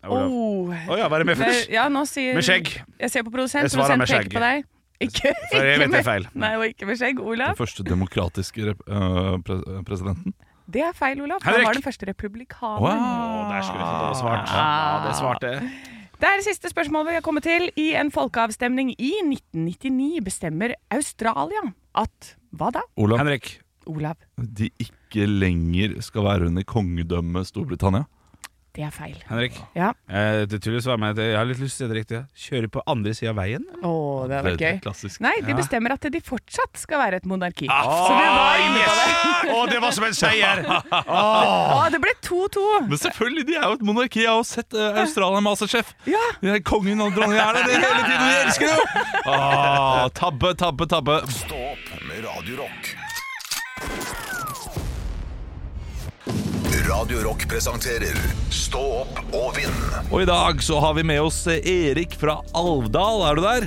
[SPEAKER 2] Oh.
[SPEAKER 3] Å ja, være med
[SPEAKER 2] Eh,
[SPEAKER 3] først.
[SPEAKER 2] Ja, nå sier
[SPEAKER 3] Med skjegg.
[SPEAKER 2] Jeg ser på produsent.
[SPEAKER 3] Jeg svarer
[SPEAKER 2] Produsent
[SPEAKER 3] med
[SPEAKER 2] peker
[SPEAKER 3] skjegg.
[SPEAKER 2] på deg.
[SPEAKER 3] *laughs*
[SPEAKER 2] Ikke,
[SPEAKER 3] For jeg vet det er feil.
[SPEAKER 2] Nei, og ikke med skjegg.
[SPEAKER 4] Den
[SPEAKER 2] Olav.
[SPEAKER 4] første demokratiske rep- øh, pre presidenten.
[SPEAKER 2] Det er feil, Olav. Han
[SPEAKER 3] Henrik.
[SPEAKER 2] var den første republikaneren.
[SPEAKER 4] Wow.
[SPEAKER 3] Å, der skulle jeg fått svart. Ja, det svarte jeg.
[SPEAKER 2] Det er det siste spørsmålet vi har kommet til. I en folkeavstemning i 1999 bestemmer Australia at Hva da,
[SPEAKER 4] Olav,
[SPEAKER 3] Henrik.
[SPEAKER 2] Olav?
[SPEAKER 4] de ikke lenger skal være under kongedømmet Storbritannia.
[SPEAKER 2] Det er feil.
[SPEAKER 3] Henrik.
[SPEAKER 2] Ja.
[SPEAKER 3] Eh, det tullet svarer meg at jeg har litt lyst til å si det riktige. Kjøre på andre sida av veien?
[SPEAKER 2] Å, det var
[SPEAKER 4] Det er
[SPEAKER 2] gøy.
[SPEAKER 4] klassisk. Ah!
[SPEAKER 2] Nei, de bestemmer at de fortsatt skal være et monarki.
[SPEAKER 3] Så det var yes! Å, det var som en seier! *laughs*
[SPEAKER 2] Å, det ble 2-2!
[SPEAKER 4] Men selvfølgelig, de er jo et monarki. Jeg har jo sett uh, Australia Masterchef.
[SPEAKER 2] Ja.
[SPEAKER 4] De er kongen og dronningen er der hele tiden. Vi elsker det jo! Ah, tabbe, tabbe, tabbe.
[SPEAKER 1] Stå opp med Radio Rock. Radio Rock presenterer Stå opp og vinn.
[SPEAKER 4] Og i dag så har vi med oss eh, Erik fra Alvdal. Er du der?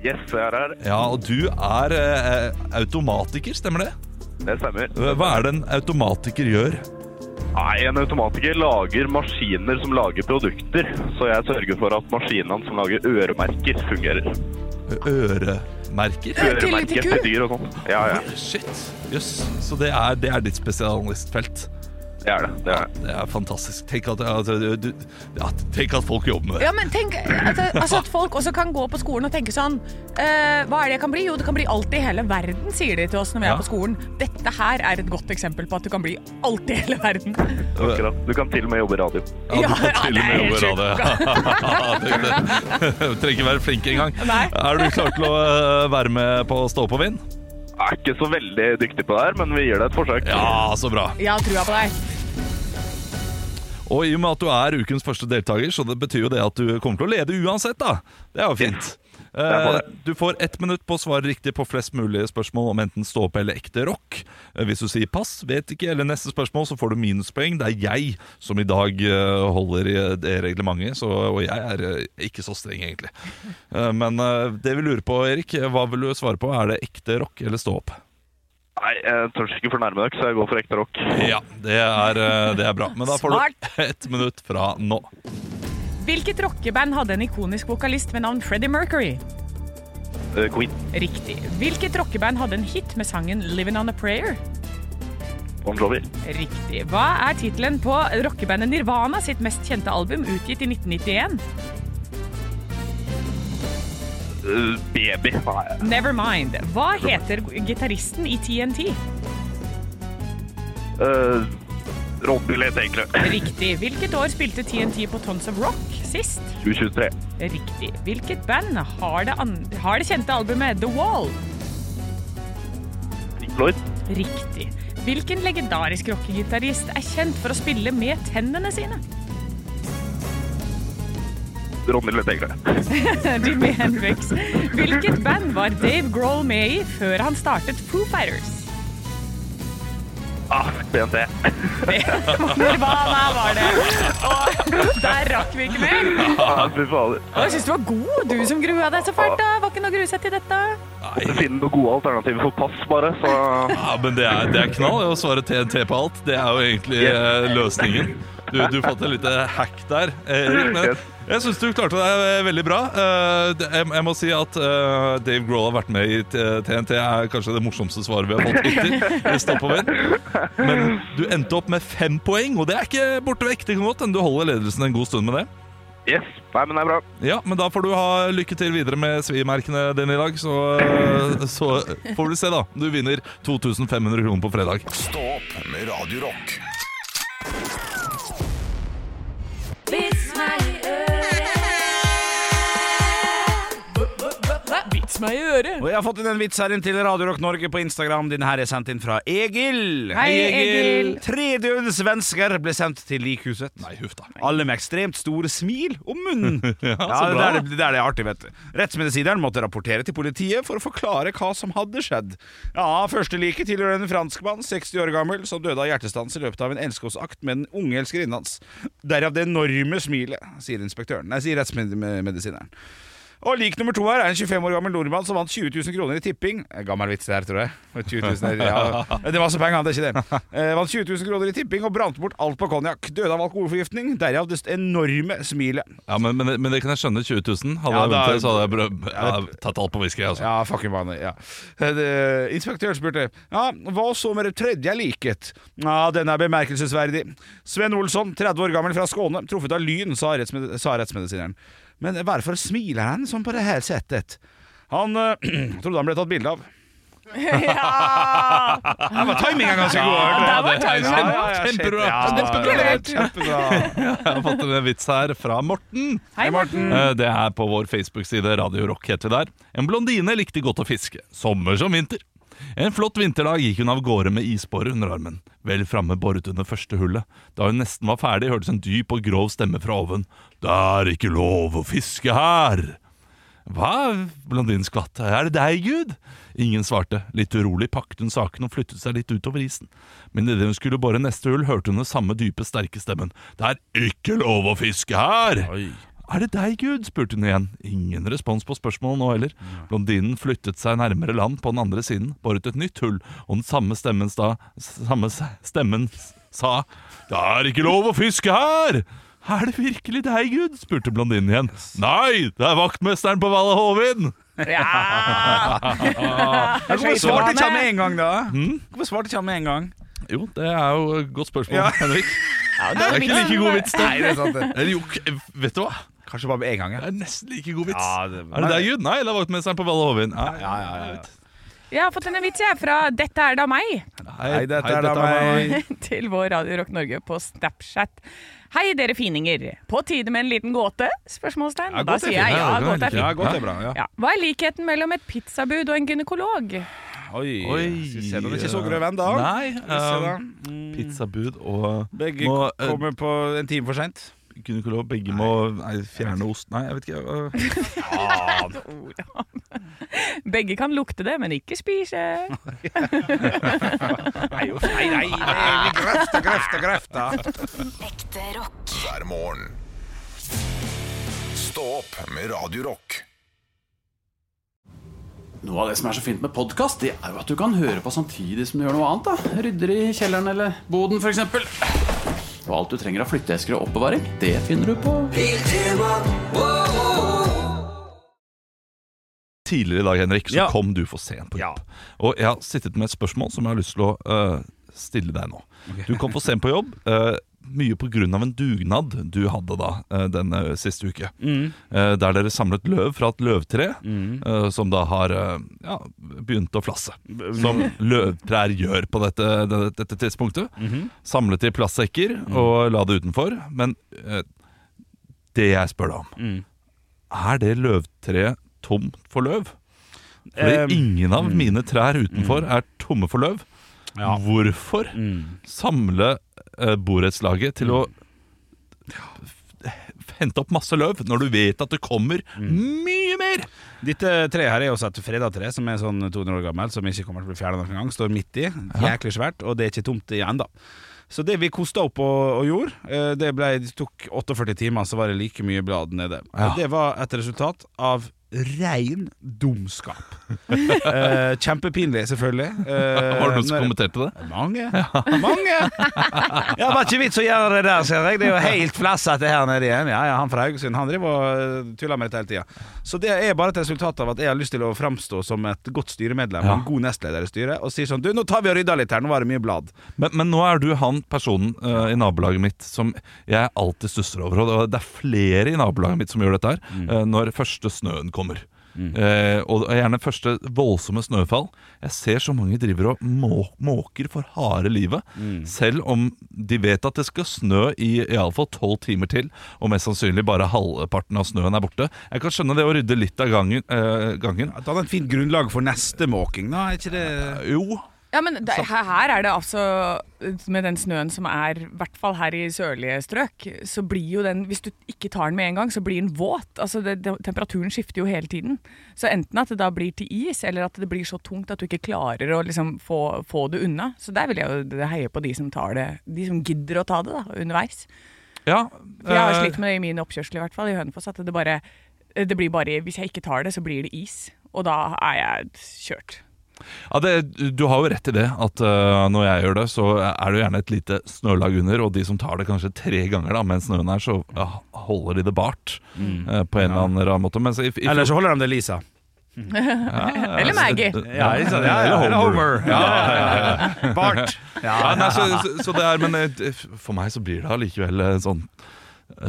[SPEAKER 8] Yes, jeg er her.
[SPEAKER 4] Ja, og du er eh, automatiker, stemmer det? Eh,
[SPEAKER 8] Det stemmer.
[SPEAKER 4] Hva er det en automatiker gjør?
[SPEAKER 8] Nei, en automatiker lager maskiner som lager produkter, så jeg sørger for at maskinene som lager øremerker, fungerer.
[SPEAKER 4] Eh, Øremerker?
[SPEAKER 2] Til- til
[SPEAKER 8] Øremerker
[SPEAKER 2] ku?
[SPEAKER 8] til dyr og sånn. Ja, ja.
[SPEAKER 4] Shit. Jøss. Så det er, det er ditt spesialistfelt.
[SPEAKER 8] Det er det. det er det.
[SPEAKER 4] Det er fantastisk. Tenk at, altså, du- du, ja, tenk at folk jobber med det.
[SPEAKER 2] Ja, men tenk at, altså at folk også kan gå på skolen og tenke sånn eh, Hva er det jeg kan bli? Jo, det kan bli alt i hele verden, sier de til oss når vi
[SPEAKER 4] Ja.
[SPEAKER 2] er på skolen. Dette her er et godt eksempel på at du kan bli alt i hele verden.
[SPEAKER 8] Akkurat. Du kan til og med jobbe i radio.
[SPEAKER 4] Ja, du
[SPEAKER 2] ja,
[SPEAKER 4] kan til og
[SPEAKER 2] det
[SPEAKER 4] med
[SPEAKER 2] er
[SPEAKER 4] jobbe
[SPEAKER 2] helt
[SPEAKER 4] *laughs* radio. Du trenger ikke være flink engang.
[SPEAKER 2] Nei.
[SPEAKER 4] Er du klar til å eh, være med på Stå opp og vinn?
[SPEAKER 8] Jeg er ikke så veldig dyktig på det her, men vi gir det et forsøk.
[SPEAKER 4] Ja, så bra.
[SPEAKER 2] Jeg har trua på deg.
[SPEAKER 4] Og i og med at du er ukens første deltaker, så det betyr jo det at du kommer til å lede uansett, da. Det er jo fint.
[SPEAKER 8] er bra,
[SPEAKER 4] Eh,
[SPEAKER 8] det.
[SPEAKER 4] Du får ett minutt på å svare riktig på flest mulige spørsmål om enten stå opp eller ekte rock. Eh, Hvis du sier pass, vet ikke, eller neste spørsmål, så får du minuspoeng. Det er jeg som i dag eh, holder i det reglementet, så, og jeg er eh, ikke så streng, egentlig. Eh, Men eh, det vi lurer på, Erik, eh, hva vil du svare på? Er det ekte rock eller stå opp?
[SPEAKER 8] Nei, jeg tør ikke fornærme dere, så jeg går for ekte rock.
[SPEAKER 4] Ja, det er, eh, det er bra. Men da får
[SPEAKER 2] Smart.
[SPEAKER 4] du *laughs* ett minutt fra nå.
[SPEAKER 2] Hvilket rockeband hadde en ikonisk vokalist med navn Freddie Mercury?
[SPEAKER 8] Eh, Queen.
[SPEAKER 2] Riktig. Hvilket rockeband hadde en hit med sangen 'Living On A Prayer'?
[SPEAKER 8] Bon Jovi.
[SPEAKER 2] Riktig. Hva er tittelen på rockebandet Nirvana sitt mest kjente album, utgitt i 1991?
[SPEAKER 8] Eh, baby. Nei,
[SPEAKER 2] Nevermind. Hva heter gitaristen i TNT?
[SPEAKER 8] eh, Robbie Lett, egentlig.
[SPEAKER 2] Riktig. Hvilket år spilte TNT på Tons of Rock sist?
[SPEAKER 8] 2023.
[SPEAKER 2] Riktig. Hvilket band har det, an har det kjente albumet The Wall?
[SPEAKER 8] Floyd.
[SPEAKER 2] Riktig. Hvilken legendarisk rockegitarist er kjent for å spille med tennene sine? *laughs*
[SPEAKER 8] Ronny Løtegle.
[SPEAKER 2] Jimmy Hendrix. Hvilket band var Dave Grohl med i før han startet Foo Fighters?
[SPEAKER 8] Ah, BNT.
[SPEAKER 2] Nirvana var det. Og der rakk vi ikke mer.
[SPEAKER 8] Ah, fy fader.
[SPEAKER 2] Og Jeg syns du var god, du som grua deg så fælt. da. Var ikke noe gruset til dette.
[SPEAKER 8] Måtte finne noen gode alternativer for pass, bare. Så
[SPEAKER 4] Ja, men det er, det er knall å svare TNT på alt. Det er jo egentlig eh, løsningen. Du, du fant et lite hack der. eh, Erik, men jeg syns du klarte deg eh, veldig bra. Eh, det- Jeg, jeg må si at eh, Dave Grohl har vært med i T- TNT er kanskje det morsomste svaret vi har fått hittil. i Stoppover. Men du endte opp med fem poeng, og det er ikke borte vekk. Det kan godt hende du holder ledelsen en god stund med det.
[SPEAKER 8] yes. Nei, men det er bra.
[SPEAKER 4] Ja, men da får du ha lykke til videre med svimerkene dine i dag. Så, eh, så får vi se, da. Du vinner 2500 kroner på fredag.
[SPEAKER 1] Stå opp med Radio Rock.
[SPEAKER 5] Vits meg i øret.
[SPEAKER 2] Vits meg i øret.
[SPEAKER 3] Og jeg har fått inn en vits her inn til Radio Rock Norge på Instagram. Denne her er sendt inn fra Egil.
[SPEAKER 2] Hei, Egil.
[SPEAKER 3] Tre døde svensker ble sendt til likhuset.
[SPEAKER 4] Nei, huff da.
[SPEAKER 3] Alle med ekstremt store smil om munnen.
[SPEAKER 4] *laughs*
[SPEAKER 3] ja,
[SPEAKER 4] så
[SPEAKER 3] det,
[SPEAKER 4] bra.
[SPEAKER 3] er det, det er det artig, vet du. Rettsmedisineren måtte rapportere til politiet for å forklare hva som hadde skjedd. Ja, Førsteliket tilhører en franskmann, 60 år gammel, som døde av hjertestans i løpet av en elskovsakt med den unge elskerinnen hans. Derav det enorme smilet, sier inspektøren. Nei, sier rettsmedisineren. Og lik nummer to her er en 25 år gammel nordmann som vant 20 000 kroner i tipping. Eh, Gammel vits der, tror jeg. Og 20 000 er, ja. Det var så penger, det er ikke det. Eh, vant 20 000 kroner i tipping og brant bort alt på konjakk. Døde av alkoholforgiftning, derav det enorme smilet.
[SPEAKER 4] Ja, men, men, men det kan jeg skjønne. 20 000. Hadde
[SPEAKER 3] Ja,
[SPEAKER 4] jeg
[SPEAKER 3] da-
[SPEAKER 4] vunnet, det, så hadde jeg brød, ja, tatt alt på whisky. Altså.
[SPEAKER 3] Ja, fucking vanlig, ja. Eh, det- Inspektøren spurte Ja, hva så med det tredje liket? Ja, den er bemerkelsesverdig. Sven Olsson, 30 år gammel fra Skåne, truffet av lyn, sa, rettsmed sa rettsmedisineren. Men hvorfor smiler han sånn på det her settet? Han eh, *clears throat* trodde han ble tatt bilde av.
[SPEAKER 2] Ja.
[SPEAKER 3] Ja, men timingen er ganske god.
[SPEAKER 2] der var
[SPEAKER 4] det er
[SPEAKER 2] timingen
[SPEAKER 4] kjempebra.
[SPEAKER 3] Ja, ja, shit,
[SPEAKER 4] Kjempebra.
[SPEAKER 3] ja,
[SPEAKER 2] Kjempebra.
[SPEAKER 3] Kjempebra.
[SPEAKER 4] Jeg har fått en vits her fra Morten.
[SPEAKER 2] Hei,
[SPEAKER 3] Mm.
[SPEAKER 2] Morten.
[SPEAKER 4] Eh, Det er på vår Facebook-side Radio Rock heter vi der. En blondine likte godt å fiske, sommer som vinter. En flott vinterdag gikk hun av gårde med isbåre under armen. Vel framme boret hun det første hullet. Da hun nesten var ferdig, hørtes en dyp og grov stemme fra oven. Det er ikke lov å fiske her! Hva? Blondinen skvatt. Er det deg, Gud? Ingen svarte. Litt urolig pakket hun saken og flyttet seg litt utover isen. Men idet hun skulle bore neste hull, hørte hun den samme dype, sterke stemmen. Det er ikke lov å fiske her! Er det deg, Gud? spurte hun igjen. Ingen respons på spørsmålet nå heller. Blondinen flyttet seg nærmere land på den andre siden, boret et nytt hull, og den samme stemmen, sta, samme s- stemmen s- sa Det er ikke lov å fiske her! Er det virkelig deg, Gud? spurte blondinen igjen. Nei, det er vaktmesteren på Valle Hovin!
[SPEAKER 2] Ja.
[SPEAKER 3] Ja, Hvorfor svarte ikke han med
[SPEAKER 2] meg?
[SPEAKER 3] en gang, da? Hvorfor svarte ikke han med en gang?
[SPEAKER 4] Jo, det er jo et godt spørsmål,
[SPEAKER 3] Ja.
[SPEAKER 4] Henrik. det er ikke like god vits,
[SPEAKER 3] Nei, det er sant det.
[SPEAKER 4] Eller jo, k- vet du hva?
[SPEAKER 3] Kanskje bare med en gang, ja.
[SPEAKER 4] Det er nesten like god vits.
[SPEAKER 3] Ja, det-
[SPEAKER 4] Er det deg, Gud? Nei, det er vaktmesteren på Valle Hovin. Nei,
[SPEAKER 3] Ja, ja, ja, ja.
[SPEAKER 2] Jeg har fått en vits jeg, fra Dette er da meg *laughs*
[SPEAKER 3] Hei, dette er da meg.
[SPEAKER 2] til vår Radio Rock Norge på Snapchat. Hei, dere fininger. På tide med en liten gåte? Spørsmålstegn.
[SPEAKER 4] Ja,
[SPEAKER 2] da
[SPEAKER 4] gåte er
[SPEAKER 2] sier
[SPEAKER 4] fint.
[SPEAKER 2] jeg ja,
[SPEAKER 4] Ja, det kan
[SPEAKER 2] gåte
[SPEAKER 4] være
[SPEAKER 2] er
[SPEAKER 4] like.
[SPEAKER 3] Ja,
[SPEAKER 2] fint.
[SPEAKER 3] godt det er bra. Ja.
[SPEAKER 2] Ja. Hva er likheten mellom et pizzabud og en gynekolog?
[SPEAKER 3] Oi,
[SPEAKER 4] Oi.
[SPEAKER 3] Selv om det ikke er så grøv ennå.
[SPEAKER 4] Nei,
[SPEAKER 3] Se da.
[SPEAKER 4] eh, pizzabud og eh,
[SPEAKER 3] Begge
[SPEAKER 4] må, eh,
[SPEAKER 3] kommer på en time for seint.
[SPEAKER 4] gynekolog. Begge må nei, fjerne ost Nei, jeg vet ikke. eh,
[SPEAKER 2] Begge kan lukte det, men ikke spise.
[SPEAKER 3] Nei, nei, nei, grøfta, grøfta, grøfta.
[SPEAKER 5] Ekte rock.
[SPEAKER 1] hver morgen. Stå opp med Radio Rock.
[SPEAKER 9] Noe av det som er så fint med podkast, det er jo at du kan høre på samtidig som du gjør noe annet. da Rydder i kjelleren eller boden, f.eks. Og alt du trenger av flytteesker og oppbevaring, det finner du på
[SPEAKER 4] tidligere i dag, Henrik, så
[SPEAKER 3] Ja.
[SPEAKER 4] kom du for sent på
[SPEAKER 3] Ja.
[SPEAKER 4] jobb. Og jeg har sittet med et spørsmål som jeg har lyst til å eh, stille deg nå. Du kom for sent på jobb. eh, mye pga. en dugnad du hadde da eh, denne siste uke.
[SPEAKER 3] Mm.
[SPEAKER 4] Eh, der dere samlet løv fra et løvtre eh, som da har eh, ja, begynt å flasse. Som løvtrær gjør på dette, dette, dette tidspunktet.
[SPEAKER 3] Mhm.
[SPEAKER 4] Samlet i plastsekker
[SPEAKER 3] Mm.
[SPEAKER 4] og la det utenfor. Men eh, det jeg spør deg om, er det løvtreet tomt for løv?
[SPEAKER 3] Ehm,
[SPEAKER 4] Fordi ingen av mine trær utenfor er tomme for løv.
[SPEAKER 3] mm. Ja. Mm.
[SPEAKER 4] Hvorfor samle eh, borettslaget til å
[SPEAKER 3] Mm.
[SPEAKER 4] f- hente opp masse løv når du vet at det kommer
[SPEAKER 3] Mm.
[SPEAKER 4] mye mer?
[SPEAKER 3] Dette treet her er også et freda tre som er sånn 200 år gammelt, som ikke kommer til å bli fjernet noen gang. Står midt i. Jæklig svært, og det er ikke tomt igjen, da. Så det vi kosta opp og, og gjorde, eh, det, ble, det tok 48 timer, så var det like mye blad nede. Og Det var et resultat av rein dumskap. *laughs* Eh, kjempepinlig, selvfølgelig. Eh,
[SPEAKER 4] Var det noen som
[SPEAKER 3] når-
[SPEAKER 4] kommenterte det?
[SPEAKER 3] mange. Mange! *laughs* Ja, var ikke vits å gjøre det der, ser jeg. Det er jo helt flassete her nede igjen. Ja, ja, Han fra Haugesund han driver og eh, tuller med dette hele tida. Så det er bare et resultat av at jeg har lyst til å framstå som et godt styremedlem,
[SPEAKER 4] Ja.
[SPEAKER 3] en god nestleder i styret, og sier sånn Du, nå tar vi og rydder litt her, nå var det mye blad.
[SPEAKER 4] Men, men nå er du han personen eh, i nabolaget mitt som jeg alltid stusser over. Og det- det er flere i nabolaget mitt som gjør dette her
[SPEAKER 2] Mm.
[SPEAKER 4] eh, når første snøen kommer. Eh, og gjerne første voldsomme snøfall. Jeg ser så mange driver og må måker for harde livet.
[SPEAKER 2] Mm.
[SPEAKER 4] Selv om de vet at det skal snø i iallfall tolv timer til, og mest sannsynlig bare halvparten av snøen er borte. Jeg kan skjønne det å rydde litt av gangen. eh, gangen.
[SPEAKER 3] At han har et fint grunnlag for neste måking, da. Er ikke det
[SPEAKER 4] Jo,
[SPEAKER 2] Ja, men det, her, her er det altså Med den snøen som er, i hvert fall her i sørlige strøk, så blir jo den Hvis du ikke tar den med en gang, så blir den våt. Altså, det, det, Temperaturen skifter jo hele tiden. Så enten at det da blir til is, eller at det blir så tungt at du ikke klarer å liksom få, få det unna. Så der vil jeg jo heie på de som tar det De som gidder å ta det da, underveis.
[SPEAKER 4] ja
[SPEAKER 2] For jeg har
[SPEAKER 4] eh,
[SPEAKER 2] slitt med det i min oppkjørsel, i hvert fall, i Hønefoss. At det bare, eh, det blir bare Hvis jeg ikke tar det, så blir det is. Og da er jeg kjørt.
[SPEAKER 4] Ja, det, Du har jo rett i det, at øh, når jeg gjør det, så er det jo gjerne et lite snølag under, og de som tar det kanskje tre ganger da, mens snøen er, så ja, holder de det bart øh, på en eller annen rar måte. Mens i, i,
[SPEAKER 3] Mm. Eller så holder de det Lisa.
[SPEAKER 2] Eller Maggie.
[SPEAKER 3] Ja, ikke sant? Ja, ja, eller Homer. Ja, ja, ja. *laughs* Bart.
[SPEAKER 4] Ja, nei,
[SPEAKER 3] Ja.
[SPEAKER 4] så, så, så det er, men eh, for meg så blir det allikevel eh, sånn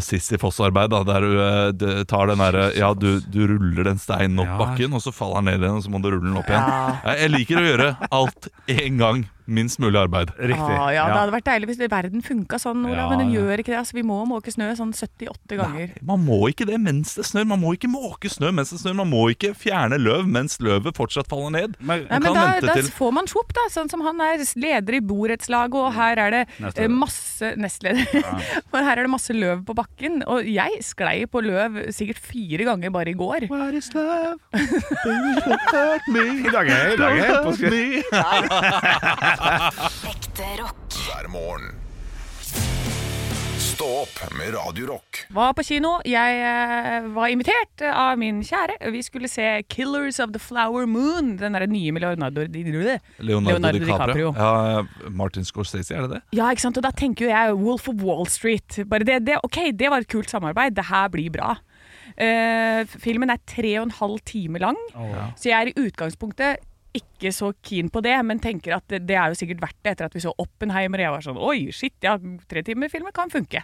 [SPEAKER 4] Sissy Foss-arbeid, da, der du eh, d- tar den derre Ja, du, du ruller den steinen opp
[SPEAKER 3] Ja.
[SPEAKER 4] bakken, og så faller den ned igjen, og så må du rulle den opp igjen. Jeg, jeg liker å gjøre alt én gang. Minst mulig arbeid.
[SPEAKER 3] Riktig.
[SPEAKER 2] Ah, ja, Det
[SPEAKER 3] Ja.
[SPEAKER 2] hadde vært deilig hvis det- verden funka sånn, Olav,
[SPEAKER 4] Ja,
[SPEAKER 2] men den
[SPEAKER 4] ja.
[SPEAKER 2] gjør ikke det. Altså, vi må måke snø sånn 78 ganger.
[SPEAKER 4] Man må ikke det mens det snør. Man må ikke måke snø mens det snør. Man må ikke fjerne løv mens løvet fortsatt faller ned.
[SPEAKER 3] Men-
[SPEAKER 2] Nei, men
[SPEAKER 4] Man kan
[SPEAKER 2] da,
[SPEAKER 4] vente
[SPEAKER 2] da
[SPEAKER 4] til
[SPEAKER 2] får man svopp, da. Sånn som han er leder i borettslaget, og her er det eh,
[SPEAKER 3] Nestleder.
[SPEAKER 2] masse Nestleder. *laughs* Men her er det masse løv på bakken. Og jeg sklei på løv sikkert fire ganger bare i går.
[SPEAKER 3] What is love? I dag er i dag er jeg på skri-
[SPEAKER 5] Ekte rock.
[SPEAKER 1] hver morgen. Stå opp med Radio Rock.
[SPEAKER 2] Var på kino. Jeg eh, var invitert av min kjære. Vi skulle se 'Killers of the Flower Moon'. Den derre nye med Leonardo, Di-
[SPEAKER 4] *laughs* Leonardo, DiCaprio. Ja, Martin Scorsese, er det det?
[SPEAKER 2] Ja, ikke sant? Og da tenker jo jeg Wolf of Wall Street. Bare det, det, ok, det var et kult samarbeid. Det her blir bra. Eh, filmen er tre og en halv time lang, så jeg er i utgangspunktet ikke så keen på det, men tenker at det, det er jo sikkert verdt det etter at vi så Oppenheimer. Og jeg var sånn Oi, shit, ja, tre timer filmer kan funke.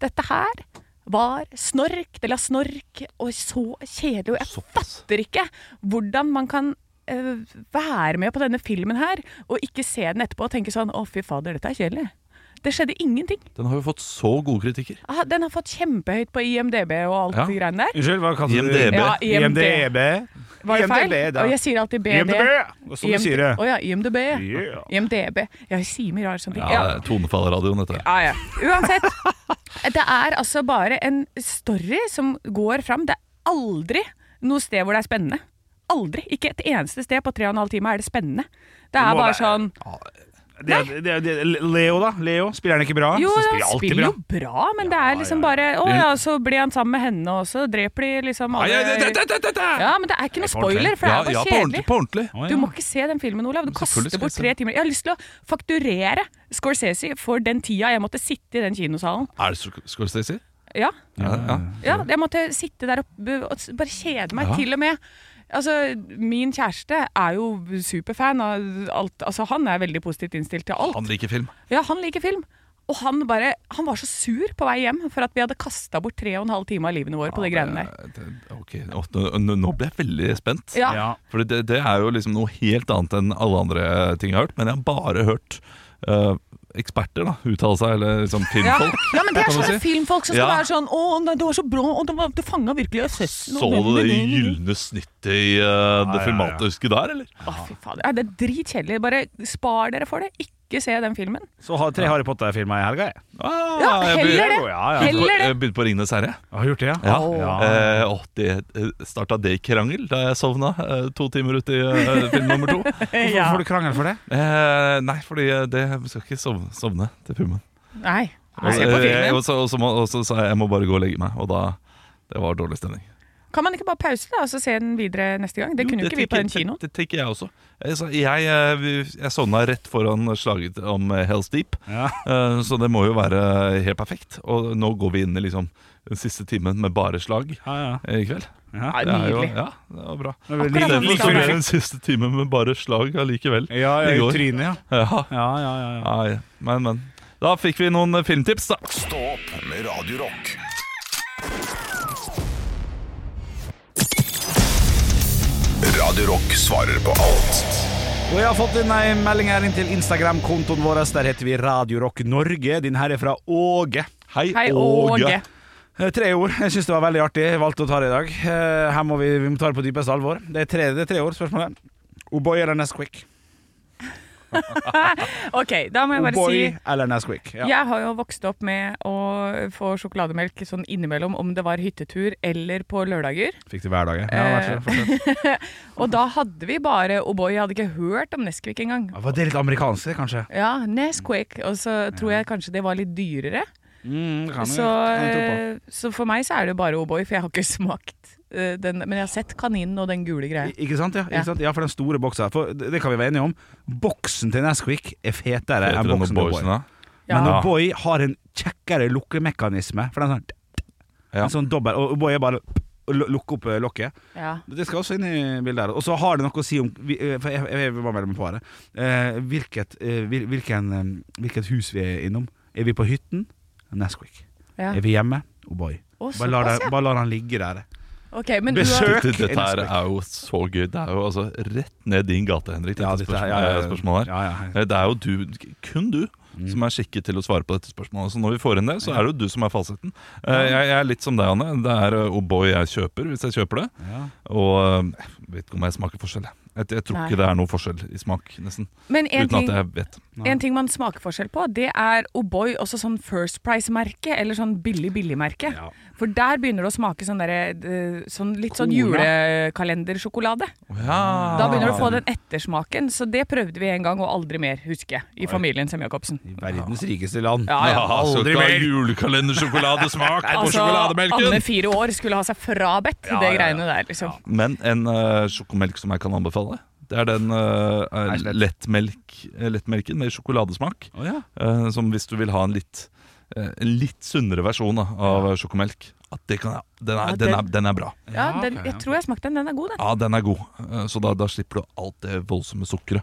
[SPEAKER 2] Dette her var snork. Det la snork, og så kjedelig. Og jeg fatter ikke hvordan man kan eh, være med på denne filmen her og ikke se den etterpå og tenke sånn Å, fy fader, dette er kjedelig. Det skjedde ingenting.
[SPEAKER 4] Den har jo fått så gode kritikker.
[SPEAKER 2] Ah, Den har fått kjempehøyt på IMDb og alt
[SPEAKER 4] Ja.
[SPEAKER 2] de greiene der.
[SPEAKER 3] Unnskyld, hva kalte du
[SPEAKER 4] IMDb.
[SPEAKER 2] Ja, IMDb. Var det feil?
[SPEAKER 3] IMDb, da.
[SPEAKER 2] Og jeg sier alltid BD.
[SPEAKER 3] IMDb! Og som du sier det.
[SPEAKER 2] Å ja, IMDb.
[SPEAKER 3] Yeah.
[SPEAKER 2] IMDb. Jeg sier mye rare sånne ting.
[SPEAKER 4] Ja, det er Tonefallradioen, dette.
[SPEAKER 2] Ah, Ja, ja. Uansett. *laughs* Det er altså bare en story som går fram. Det er aldri noe sted hvor det er spennende. Aldri. Ikke et eneste sted på tre og en halv time er det spennende. Det er
[SPEAKER 3] må
[SPEAKER 2] bare
[SPEAKER 3] være-
[SPEAKER 2] sånn
[SPEAKER 3] Det, er- det, er- det, er- Leo, da? Leo, Spiller han ikke bra?
[SPEAKER 2] Jo,
[SPEAKER 3] Så
[SPEAKER 2] han
[SPEAKER 3] han alltid
[SPEAKER 2] spiller jo bra, men det er liksom bare Å ja, så blir han sammen med henne, og så dreper de liksom
[SPEAKER 4] Nei,
[SPEAKER 2] alle
[SPEAKER 4] nei, nei, nei, nei, nei, nei.
[SPEAKER 2] Ja, men det er ikke noe spoiler, for det
[SPEAKER 4] Ja,
[SPEAKER 2] er bare
[SPEAKER 4] ja, på ordentlig.
[SPEAKER 2] kjedelig.
[SPEAKER 4] På ordentlig.
[SPEAKER 3] Å, ja.
[SPEAKER 2] Du må ikke se den filmen, Olav. Du
[SPEAKER 4] selvfølgelig
[SPEAKER 2] kaster
[SPEAKER 4] skal
[SPEAKER 2] bort
[SPEAKER 4] jeg se
[SPEAKER 2] tre timer. Jeg har lyst til å fakturere Scorsese for den tida jeg måtte sitte i den kinosalen.
[SPEAKER 4] Er det Sc- Scorsese?
[SPEAKER 2] Ja,
[SPEAKER 4] Ja, ja.
[SPEAKER 2] ja jeg måtte sitte der og, b- og s- bare kjede meg. Til og med Altså, Min kjæreste er jo superfan av alt. Altså, Han er veldig positivt innstilt til alt.
[SPEAKER 4] Han liker film.
[SPEAKER 2] Ja, han liker film. Og han, bare, han var så sur på vei hjem for at vi hadde kasta bort tre og en halv time av livene våre på de greiene der.
[SPEAKER 4] Eh, det- Ok, Å, nå- nå nå ble jeg veldig spent.
[SPEAKER 2] Ja.
[SPEAKER 3] Ja.
[SPEAKER 4] For det, det er jo liksom noe helt annet enn alle andre ting jeg har hørt, men jeg har bare hørt eh, eksperter da, uttale seg, eller
[SPEAKER 2] *laughs*
[SPEAKER 4] liksom filmfolk.
[SPEAKER 2] Ja, men det er
[SPEAKER 4] kan man
[SPEAKER 2] sånne
[SPEAKER 4] si.
[SPEAKER 2] filmfolk som skal
[SPEAKER 4] Ja.
[SPEAKER 2] være sånn 'Å, nei, det var så bra, og det, var- det fanga virkelig essensen'.
[SPEAKER 4] Så du det gylne snittet i eh, det
[SPEAKER 3] ja, ja.
[SPEAKER 4] filmatoriske der, eller?
[SPEAKER 2] Å, fy fader. Ja, det er dritkjedelig. Bare spar dere for det. Ikke se den filmen.
[SPEAKER 3] Så har tre Harry Potter-filmer i helga, jeg.
[SPEAKER 4] Ah,
[SPEAKER 2] Ja,
[SPEAKER 4] jeg
[SPEAKER 2] heller
[SPEAKER 4] begynner-
[SPEAKER 2] det.
[SPEAKER 3] Ja, ja.
[SPEAKER 2] Heller det.
[SPEAKER 4] Jeg begynte på Ringenes herre.
[SPEAKER 3] Jeg har gjort det, ja.
[SPEAKER 4] Ja.
[SPEAKER 3] Ja.
[SPEAKER 4] Eh, åh, det eh, starta det i krangel da jeg sovna eh, to timer ut i eh, film nummer
[SPEAKER 2] *laughs*
[SPEAKER 4] to.
[SPEAKER 3] Hvorfor får du krangel for det?
[SPEAKER 4] Eh, nei, fordi eh, det jeg skal ikke sovne, sovne til filmen.
[SPEAKER 2] Nei.
[SPEAKER 4] Og så-
[SPEAKER 2] Se på
[SPEAKER 4] eh,
[SPEAKER 2] filmen.
[SPEAKER 4] og så- og så må- og så sa jeg jeg må bare gå og legge meg, og da det var dårlig stemning.
[SPEAKER 2] Kan man ikke bare pause det, og så se den videre neste gang? Det kunne jo ikke vi på den kinoen.
[SPEAKER 4] Det, det tenker jeg også. Jeg, sa- jeg, eh, vi- jeg sovna rett foran slaget om eh, Hell's Deep,
[SPEAKER 3] Ja.
[SPEAKER 4] eh, så det må jo være helt perfekt. Og nå går vi inn i liksom den siste timen med bare slag
[SPEAKER 3] Ja, ja.
[SPEAKER 4] eh, i kveld.
[SPEAKER 3] Ja.
[SPEAKER 2] Nei,
[SPEAKER 4] Det er jo,
[SPEAKER 2] nydelig.
[SPEAKER 4] ja, det var bra.
[SPEAKER 3] Det var
[SPEAKER 2] Akkurat
[SPEAKER 3] lite-
[SPEAKER 2] som vi
[SPEAKER 4] Istedenfor
[SPEAKER 3] lite-
[SPEAKER 4] så
[SPEAKER 2] skal
[SPEAKER 4] ble
[SPEAKER 2] være.
[SPEAKER 4] det den siste timen med bare slag allikevel.
[SPEAKER 3] Ja,
[SPEAKER 4] I
[SPEAKER 3] ja, i
[SPEAKER 4] går.
[SPEAKER 3] trynet, ja.
[SPEAKER 4] Ja,
[SPEAKER 3] Ja, ja, ja, ja.
[SPEAKER 4] nei, men, men. Da fikk vi noen eh, filmtips, da.
[SPEAKER 1] Stå opp med Radio Rock. Radio Rock svarer på alt.
[SPEAKER 3] Og jeg har fått inn ei melding her inn til Instagram-kontoen vår. Der heter vi Radio Rock Norge. Din her er fra Åge.
[SPEAKER 2] Hei, Åge.
[SPEAKER 3] Eh, Tre ord. Jeg syns det var veldig artig. Jeg valgte å ta det i dag. Eh, Her må vi, vi må ta det på dypeste alvor. Det er tre, det er tre ord. Spørsmålet O'boy eller Nesquik?
[SPEAKER 2] Ok, da må jeg bare
[SPEAKER 3] O'boy
[SPEAKER 2] si
[SPEAKER 3] eller Nesquik? Oh, Ja.
[SPEAKER 2] Jeg har jo vokst opp med å få sjokolademelk sånn innimellom, om det var hyttetur eller på lørdager.
[SPEAKER 3] Fikk det hver dag. jeg. Ja, vær så god, fortsett.
[SPEAKER 2] Eh. Og da hadde vi bare O'boy. Jeg hadde ikke hørt om Nesquik engang.
[SPEAKER 3] Ja, Var det litt amerikansk, det, kanskje?
[SPEAKER 2] Ja, Nesquik. Og så tror jeg kanskje det var litt dyrere.
[SPEAKER 3] Mm, det kan jeg-
[SPEAKER 2] Så,
[SPEAKER 3] kan jeg tro på.
[SPEAKER 2] eh, så for meg så er det jo bare O'boy, for jeg har ikke *laughs* smakt eh, den. Men jeg har sett kaninen og den gule greia.
[SPEAKER 3] I- Ikke sant, ja?
[SPEAKER 2] eh, Ja.
[SPEAKER 3] Ikke sant? Ja, for den store boksa. For det det kan vi være enige om. Boksen til Nesquik er fetere enn boksen
[SPEAKER 4] Heter
[SPEAKER 3] til
[SPEAKER 4] den Boysen,
[SPEAKER 3] O'boy.
[SPEAKER 4] da?
[SPEAKER 3] Men
[SPEAKER 2] Ja.
[SPEAKER 3] O'boy har en kjekkere lukkemekanisme. For den er sånn
[SPEAKER 4] Ja.
[SPEAKER 3] En sånn dobbel Og O'boy er bare å lu- lukke opp eh, lokket.
[SPEAKER 2] Ja.
[SPEAKER 3] Det skal også inn i bildet her. Og så har det noe å si om vi- eh, For jeg, jeg, jeg var mellom på det. Eh, hvilket, eh, hvil- hvilken, eh, hvilket hus vi er innom. Er vi på hytten? Nesquik.
[SPEAKER 2] ja.
[SPEAKER 3] Er vi hjemme? O'boy.
[SPEAKER 2] Å,
[SPEAKER 3] Bare, la
[SPEAKER 2] såpass,
[SPEAKER 3] den-
[SPEAKER 2] ja.
[SPEAKER 3] bare la den ligge der.
[SPEAKER 2] Ok, men du har,
[SPEAKER 3] Besøk!
[SPEAKER 4] Dette, dette her
[SPEAKER 3] Nesquik.
[SPEAKER 4] er jo så gøy. Det er jo altså rett ned din gate, Henrik. Dette
[SPEAKER 3] Ja, dette er-
[SPEAKER 4] spørsmålet,
[SPEAKER 3] ja, ja, ja.
[SPEAKER 4] eh, spørsmålet her.
[SPEAKER 3] Ja, ja, ja.
[SPEAKER 4] Eh, Det er jo du, kun du
[SPEAKER 2] Mm.
[SPEAKER 4] som er skikket til å svare på dette spørsmålet. Så når vi får inn det, så er det jo du som er fasiten. Eh, Jeg, jeg er litt som deg, Anne. Det er eh, O'boy jeg kjøper, hvis jeg kjøper det.
[SPEAKER 3] Ja.
[SPEAKER 4] Og eh, jeg vet ikke om jeg smaker forskjell. jeg. Jeg, jeg tror
[SPEAKER 2] Nei.
[SPEAKER 4] ikke det er noe forskjell i smak, nesten.
[SPEAKER 2] men en
[SPEAKER 4] Uten
[SPEAKER 2] ting,
[SPEAKER 4] at jeg vet.
[SPEAKER 2] en ting man smaker forskjell på, det er O'boy også sånn First Price-merke, eller sånn billig-billig-merke.
[SPEAKER 3] Ja.
[SPEAKER 2] For der begynner det å smake sånn derre, eh, sånn litt sånn
[SPEAKER 3] Cola.
[SPEAKER 2] julekalendersjokolade. Da begynner du å få
[SPEAKER 3] Ah.
[SPEAKER 2] den ettersmaken, så det prøvde vi en gang og aldri mer, husker jeg, i familien Sem-Jacobsen.
[SPEAKER 3] I verdens rikeste land.
[SPEAKER 2] Ja, ja.
[SPEAKER 3] Aldri mer!
[SPEAKER 2] *laughs*
[SPEAKER 4] altså, julekalendersjokoladesmak på
[SPEAKER 2] Altså, Anne fire år skulle ha seg frabedt det greiene der, liksom.
[SPEAKER 4] Men en eh, sjokomelk som jeg kan anbefale, det er den eh, eh,
[SPEAKER 3] slett.
[SPEAKER 4] lettmelk, eh, lettmelken med sjokoladesmak.
[SPEAKER 3] Å, ja.
[SPEAKER 4] eh, som hvis du vil ha en litt, eh, en litt sunnere versjon da, av eh, sjokomelk. At det kan, jeg- den, er,
[SPEAKER 2] Ja,
[SPEAKER 4] den, er,
[SPEAKER 2] den-
[SPEAKER 4] den er bra.
[SPEAKER 2] Ja,
[SPEAKER 3] Ja,
[SPEAKER 2] den,
[SPEAKER 3] ok,
[SPEAKER 2] jeg
[SPEAKER 3] ok.
[SPEAKER 2] tror jeg smakte den. Den er god, den.
[SPEAKER 4] Ja, den er god. Eh, så da, da slipper du alt det voldsomme sukkeret.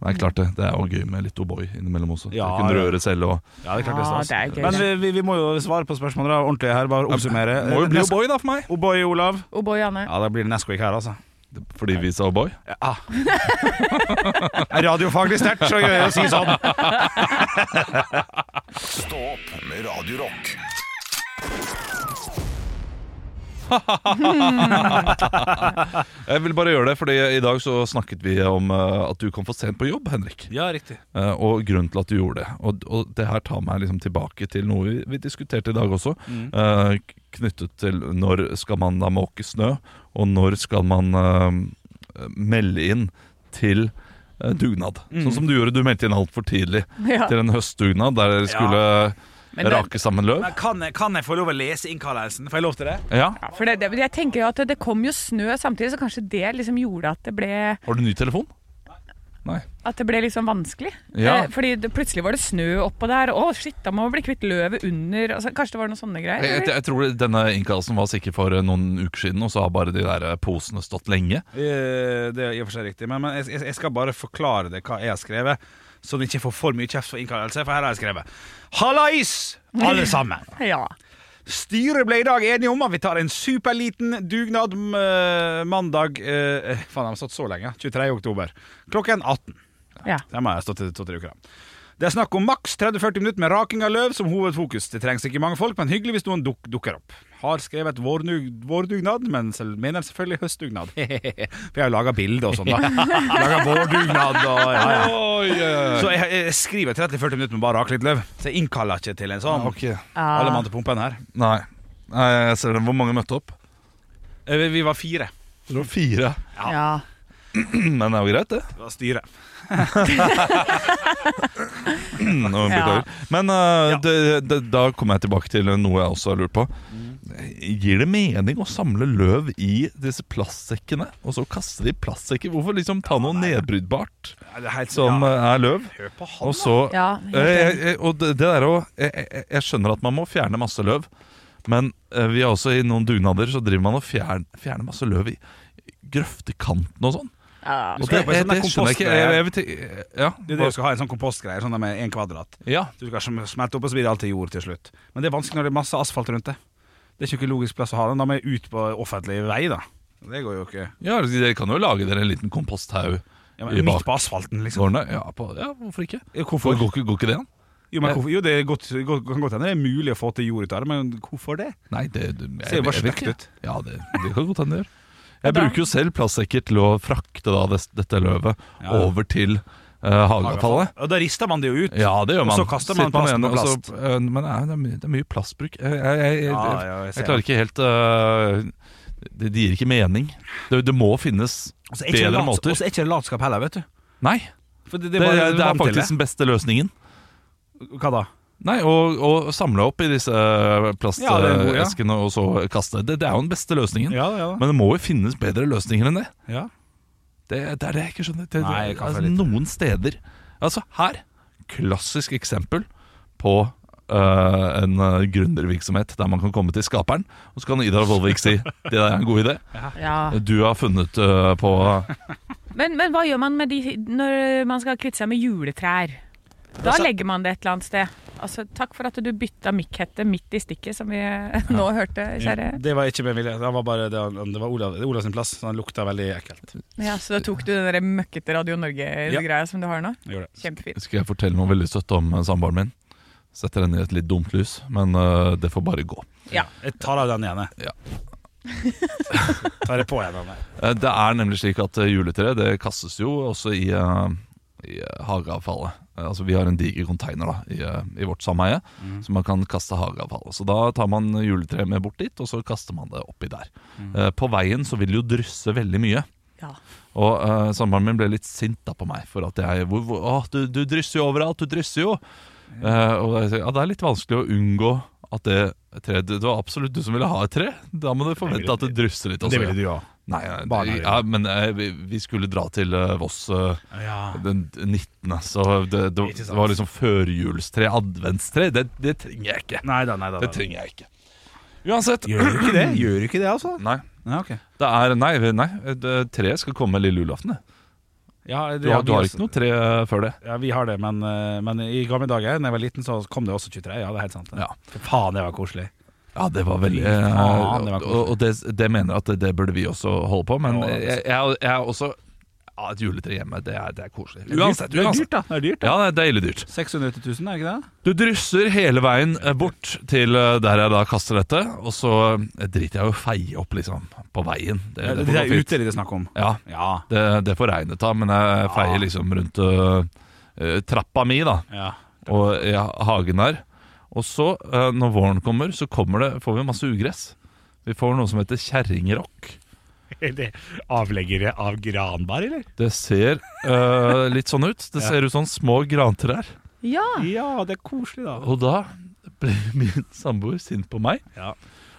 [SPEAKER 4] Men det er klart det, det er jo gøy med litt O'boy innimellom også. Ja,
[SPEAKER 3] Ja,
[SPEAKER 4] du kan
[SPEAKER 3] ja.
[SPEAKER 4] røre selv og
[SPEAKER 3] Ja, det er klart det
[SPEAKER 2] Ja,
[SPEAKER 3] er
[SPEAKER 2] det er
[SPEAKER 3] stas.
[SPEAKER 2] gøy,
[SPEAKER 3] Men vi,
[SPEAKER 2] det.
[SPEAKER 3] vi, vi må jo svare på spørsmålet da, ordentlig her. Bare oppsummere.
[SPEAKER 4] Må jo bli
[SPEAKER 3] Nes-
[SPEAKER 4] O'boy, da, for meg!
[SPEAKER 3] O'boy, Olav.
[SPEAKER 2] O'boy Anne.
[SPEAKER 3] Ja, da blir det Nesquik her, altså.
[SPEAKER 4] Fordi vi sa O'boy.
[SPEAKER 3] Ja. Radiofaglig sterkt så gjør jeg å si sånn.
[SPEAKER 1] Stå opp med Radio Rock.
[SPEAKER 4] Jeg vil bare gjøre det, fordi i dag så snakket vi om eh, at du kom for sent på jobb, Henrik.
[SPEAKER 3] Ja, riktig.
[SPEAKER 4] Eh, og grunnen til at du gjorde det. Og, og det her tar meg liksom tilbake til noe vi, vi diskuterte i dag også.
[SPEAKER 2] Mm.
[SPEAKER 4] eh, k- knyttet til når skal man da måke snø, og når skal man eh, melde inn til eh, dugnad. Sånn som du gjorde, du meldte inn altfor tidlig
[SPEAKER 2] Mm. *laughs* Ja.
[SPEAKER 4] til en høstdugnad der dere skulle
[SPEAKER 2] Men det-
[SPEAKER 4] rake sammen løv.
[SPEAKER 3] Men kan, jeg- kan jeg få lov å lese innkallelsen? Får jeg lov til det?
[SPEAKER 4] Ja.
[SPEAKER 2] Ja, for det, det, jeg tenker jo at det kom jo snø samtidig, så kanskje det liksom gjorde at det ble,
[SPEAKER 4] Har du ny telefon? Nei.
[SPEAKER 2] at det ble liksom vanskelig.
[SPEAKER 4] Ja.
[SPEAKER 2] Eh, fordi det, plutselig var det snø oppå der. Å, shit, da må vi bli kvitt løvet under. Altså, kanskje det var noen sånne greier?
[SPEAKER 4] Jeg, jeg,
[SPEAKER 2] eller?
[SPEAKER 4] jeg tror denne innkallelsen var sikkert for eh, noen uker siden, og så har bare de der eh, posene stått lenge.
[SPEAKER 3] Eh, Det er i og for seg riktig, men, men jeg- jeg, jeg skal bare forklare det hva jeg har skrevet. Så du ikke får for mye kjeft for innkallelse, for her har jeg skrevet Hallais, alle sammen!
[SPEAKER 2] Ja.
[SPEAKER 3] Styret ble i dag enige om at vi tar en superliten dugnad m- eh, mandag eh, Faen, de har stått så lenge. 23. oktober. Klokken 18.
[SPEAKER 2] ja.
[SPEAKER 3] Der må jeg ha stått i to-tre uker. da. Det er snakk om maks 30-40 minutter med raking av løv som hovedfokus. Det trengs ikke mange folk, men hyggelig hvis noen duk dukker opp. Har skrevet vårnug- vårdugnad, men selv, mener selvfølgelig høstdugnad. *laughs* For jeg har jo laga bilde og sånn,
[SPEAKER 4] *laughs*
[SPEAKER 3] da. Laga vårdugnad og ja, ja. Så jeg, jeg skriver 30-40 minutter med bare å rake litt løv. Så jeg innkaller ikke til en sånn. Alle mann til pumpen her.
[SPEAKER 4] Nei. Nei, jeg ser den. Hvor mange møtte opp?
[SPEAKER 3] Eh, Vi, vi var fire.
[SPEAKER 4] Det var fire.
[SPEAKER 2] Ja.
[SPEAKER 4] Men det er jo greit, det.
[SPEAKER 3] Det var styret.
[SPEAKER 4] Mm, og beklager. Men eh, det, det, da kommer jeg tilbake til noe jeg også har lurt på. Gir det mening å samle løv i disse plastsekkene, og så kaste de i plastsekker? Hvorfor liksom ta noe nedbrytbart
[SPEAKER 3] Ja, det er helt
[SPEAKER 4] som
[SPEAKER 3] ja.
[SPEAKER 4] eh, er løv?
[SPEAKER 3] Hør på han.
[SPEAKER 4] Og så
[SPEAKER 2] Ja, helt
[SPEAKER 4] Eh, jeg, jeg, og det, det der å- jeg, jeg, eh, jeg skjønner at man må fjerne masse løv, men eh, vi er også i noen dugnader så driver man og fjern, fjerner masse løv i grøftekanten og sånn.
[SPEAKER 2] Ja.
[SPEAKER 4] Og
[SPEAKER 3] skal
[SPEAKER 4] det,
[SPEAKER 3] jobbe i
[SPEAKER 4] det,
[SPEAKER 3] sånn
[SPEAKER 4] det
[SPEAKER 3] der
[SPEAKER 4] skjønner jeg ikke. Eh, Jeg, jeg, vet ikke- ja,
[SPEAKER 3] Det er det du skal ha en sånn kompostgreie, sånn der med én kvadrat.
[SPEAKER 4] ja.
[SPEAKER 3] Du skal sm- smelte opp, og så blir det alltid jord til slutt. Men det er vanskelig når det er masse asfalt rundt det. Det er ikke noe logisk plass å ha den. Da må jeg ut på offentlig vei, da. Det går jo ikke.
[SPEAKER 4] ja, altså, dere kan jo lage dere en liten komposthaug.
[SPEAKER 3] Ja,
[SPEAKER 4] I
[SPEAKER 3] men, midt
[SPEAKER 4] bak-
[SPEAKER 3] på asfalten, liksom.
[SPEAKER 4] Gårdene? Ja, på, ja, hvorfor ikke?
[SPEAKER 3] Hvorfor?
[SPEAKER 4] Går, går, ikke, går ikke det an?
[SPEAKER 3] Jo, men hvorfor? jo det er godt, godt, kan godt hende det er mulig å få til jord ut av det, men hvorfor det?
[SPEAKER 4] Nei, det, det jeg,
[SPEAKER 3] Ser jo bare
[SPEAKER 4] jeg vet
[SPEAKER 3] stygt
[SPEAKER 4] ikke.
[SPEAKER 3] ut.
[SPEAKER 4] Ja, det, det kan godt
[SPEAKER 3] *laughs*
[SPEAKER 4] hende det gjør. Jeg
[SPEAKER 2] da-
[SPEAKER 4] bruker jo selv plastsekker til å frakte da det, dette løvet
[SPEAKER 3] Ja, ja.
[SPEAKER 4] over til uh, hageavfallet.
[SPEAKER 3] Og da rister man det jo ut.
[SPEAKER 4] Ja, det gjør
[SPEAKER 3] Og
[SPEAKER 4] man.
[SPEAKER 3] så kaster man
[SPEAKER 4] Sitter
[SPEAKER 3] plasten på
[SPEAKER 4] igjen, og så- eh, men det er, det, er mye, det er mye plastbruk. Jeg, jeg, jeg, jeg,
[SPEAKER 3] Ja, ja, jeg ser
[SPEAKER 4] jeg klarer ikke helt eh, det, det gir ikke mening. Det, det må finnes
[SPEAKER 3] Og så er ikke det
[SPEAKER 4] bedre
[SPEAKER 3] lats- og
[SPEAKER 4] måter.
[SPEAKER 3] så er ikke det latskap heller, vet du.
[SPEAKER 4] Nei,
[SPEAKER 3] For det,
[SPEAKER 4] det,
[SPEAKER 3] er bare-
[SPEAKER 4] det,
[SPEAKER 3] du er
[SPEAKER 4] er
[SPEAKER 3] vant til
[SPEAKER 4] faktisk den beste løsningen.
[SPEAKER 3] det. Hva da?
[SPEAKER 4] Nei, og, og samle opp i disse eh,
[SPEAKER 3] Ja, det er en god, ja.
[SPEAKER 4] plasteskene og så kaste. Det, det er jo den beste løsningen.
[SPEAKER 3] Ja, ja, da.
[SPEAKER 4] Men det må jo finnes bedre løsninger enn det.
[SPEAKER 3] ja.
[SPEAKER 4] Det, det er det jeg ikke skjønner. Det,
[SPEAKER 3] Nei, jeg kan
[SPEAKER 4] altså,
[SPEAKER 3] få litt.
[SPEAKER 4] noen steder Altså her, klassisk eksempel på øh, en øh, gründervirksomhet der man kan komme til skaperen, og så kan Idar Vollvik si *laughs* det der er en god idé.
[SPEAKER 2] ja.
[SPEAKER 4] Du har funnet øh, på
[SPEAKER 2] Men, men hva gjør man med de når man skal kvitte seg med juletrær? Da legger man det et eller annet sted. Altså, takk for at du bytta mikkhette midt i stikket, som vi eh, nå hørte, kjære.
[SPEAKER 3] Det var ikke med vilje. Det var bare det, han- det var Olav, det er Olav sin plass, så han lukta veldig ekkelt.
[SPEAKER 2] Ja, Så da tok du den der møkkete Radio Norge-greia som du har nå?
[SPEAKER 3] Jeg Gjorde det.
[SPEAKER 2] Kjempefint.
[SPEAKER 4] Skal jeg fortelle noe veldig søtt om øh, samboeren min? Setter henne i et litt dumt lys, men øh, det får bare gå.
[SPEAKER 3] Jeg tar av den ene.
[SPEAKER 4] Ja.
[SPEAKER 3] tar det på igjen. Anne.
[SPEAKER 4] Eh, Det er nemlig slik at eh, juletre det kastes jo også i, eh, i eh, hageavfallet. Eh, Altså Vi har en diger container da, i, eh, i vårt sameie, så man kan kaste hageavfallet. Så Da tar man juletreet med bort dit, og så kaster man det oppi der. Eh, På veien så vil det jo drysse veldig mye.
[SPEAKER 2] Ja.
[SPEAKER 4] Og uh, samboeren min ble litt sint da på meg for at jeg hvor, hvor, å, du, du drysser jo overalt, du drysser jo. Eh, og jeg, sier, ja, det er litt vanskelig å unngå at det treet Det var absolutt du som ville ha et tre. Da må du forvente at det drysser litt. også,
[SPEAKER 3] Det
[SPEAKER 4] ja.
[SPEAKER 3] ville du ha.
[SPEAKER 4] Nei, nei, det-
[SPEAKER 3] Barnehagen.
[SPEAKER 4] ja, men eh, vi, vi skulle dra til eh, Voss eh,
[SPEAKER 3] Ja.
[SPEAKER 4] den 19., så det, det,
[SPEAKER 3] Ikke sant.
[SPEAKER 4] det var liksom førjulstre, adventstre. Det, det trenger jeg ikke.
[SPEAKER 3] Nei da, nei da.
[SPEAKER 4] Det trenger jeg ikke. Uansett
[SPEAKER 3] Gjør du ikke det? Gjør du ikke det, altså?
[SPEAKER 4] Nei,
[SPEAKER 3] Ja, ok.
[SPEAKER 4] det er, nei, nei det, treet skal komme lille julaften. det.
[SPEAKER 3] Ja, det-
[SPEAKER 4] Du har,
[SPEAKER 3] vi
[SPEAKER 4] du har
[SPEAKER 3] også-
[SPEAKER 4] ikke noe tre eh, før det.
[SPEAKER 3] Ja, vi har det, men, eh, men i gamle dager, da jeg var liten, så kom det også 23. Ja, det er helt sant. det.
[SPEAKER 4] Ja.
[SPEAKER 3] For faen, det var koselig.
[SPEAKER 4] Ja, det var veldig eh,
[SPEAKER 3] Fy faen, det var
[SPEAKER 4] Og,
[SPEAKER 3] koselig.
[SPEAKER 4] og det, det mener jeg at det, det burde vi også holde på, men
[SPEAKER 3] Ja, det er
[SPEAKER 4] jeg, jeg, jeg er også ja, Et juletre hjemme, det er, det er koselig. Uansett.
[SPEAKER 3] det er dyrt,
[SPEAKER 4] uansett.
[SPEAKER 3] da. Det er dyrt, da.
[SPEAKER 4] Ja, det er deilig dyrt.
[SPEAKER 3] 680 000, er det ikke det?
[SPEAKER 4] Du drysser hele veien eh, bort til eh, der jeg da kaster dette, og så eh, driter jeg i å feie opp liksom på veien. Det,
[SPEAKER 3] Ja, Det,
[SPEAKER 4] det, får
[SPEAKER 3] det
[SPEAKER 4] gå
[SPEAKER 3] er
[SPEAKER 4] fint.
[SPEAKER 3] ute det er snakk om.
[SPEAKER 4] Ja,
[SPEAKER 3] Ja.
[SPEAKER 4] det, det får regnet da, men jeg feier liksom rundt eh, eh, trappa mi da,
[SPEAKER 3] *laughs* ja.
[SPEAKER 4] og i hagen der. Og så, eh, når våren kommer, så kommer det, får vi masse ugress. Vi får noe som heter kjerringrokk.
[SPEAKER 3] Avleggere av granbar, eller?
[SPEAKER 4] Det ser eh, litt sånn ut. Det
[SPEAKER 3] Ja.
[SPEAKER 4] ser ut som små grantrær.
[SPEAKER 2] ja.
[SPEAKER 3] Ja, det er koselig, da.
[SPEAKER 4] Og da ble *laughs* min samboer sint på meg.
[SPEAKER 3] Ja.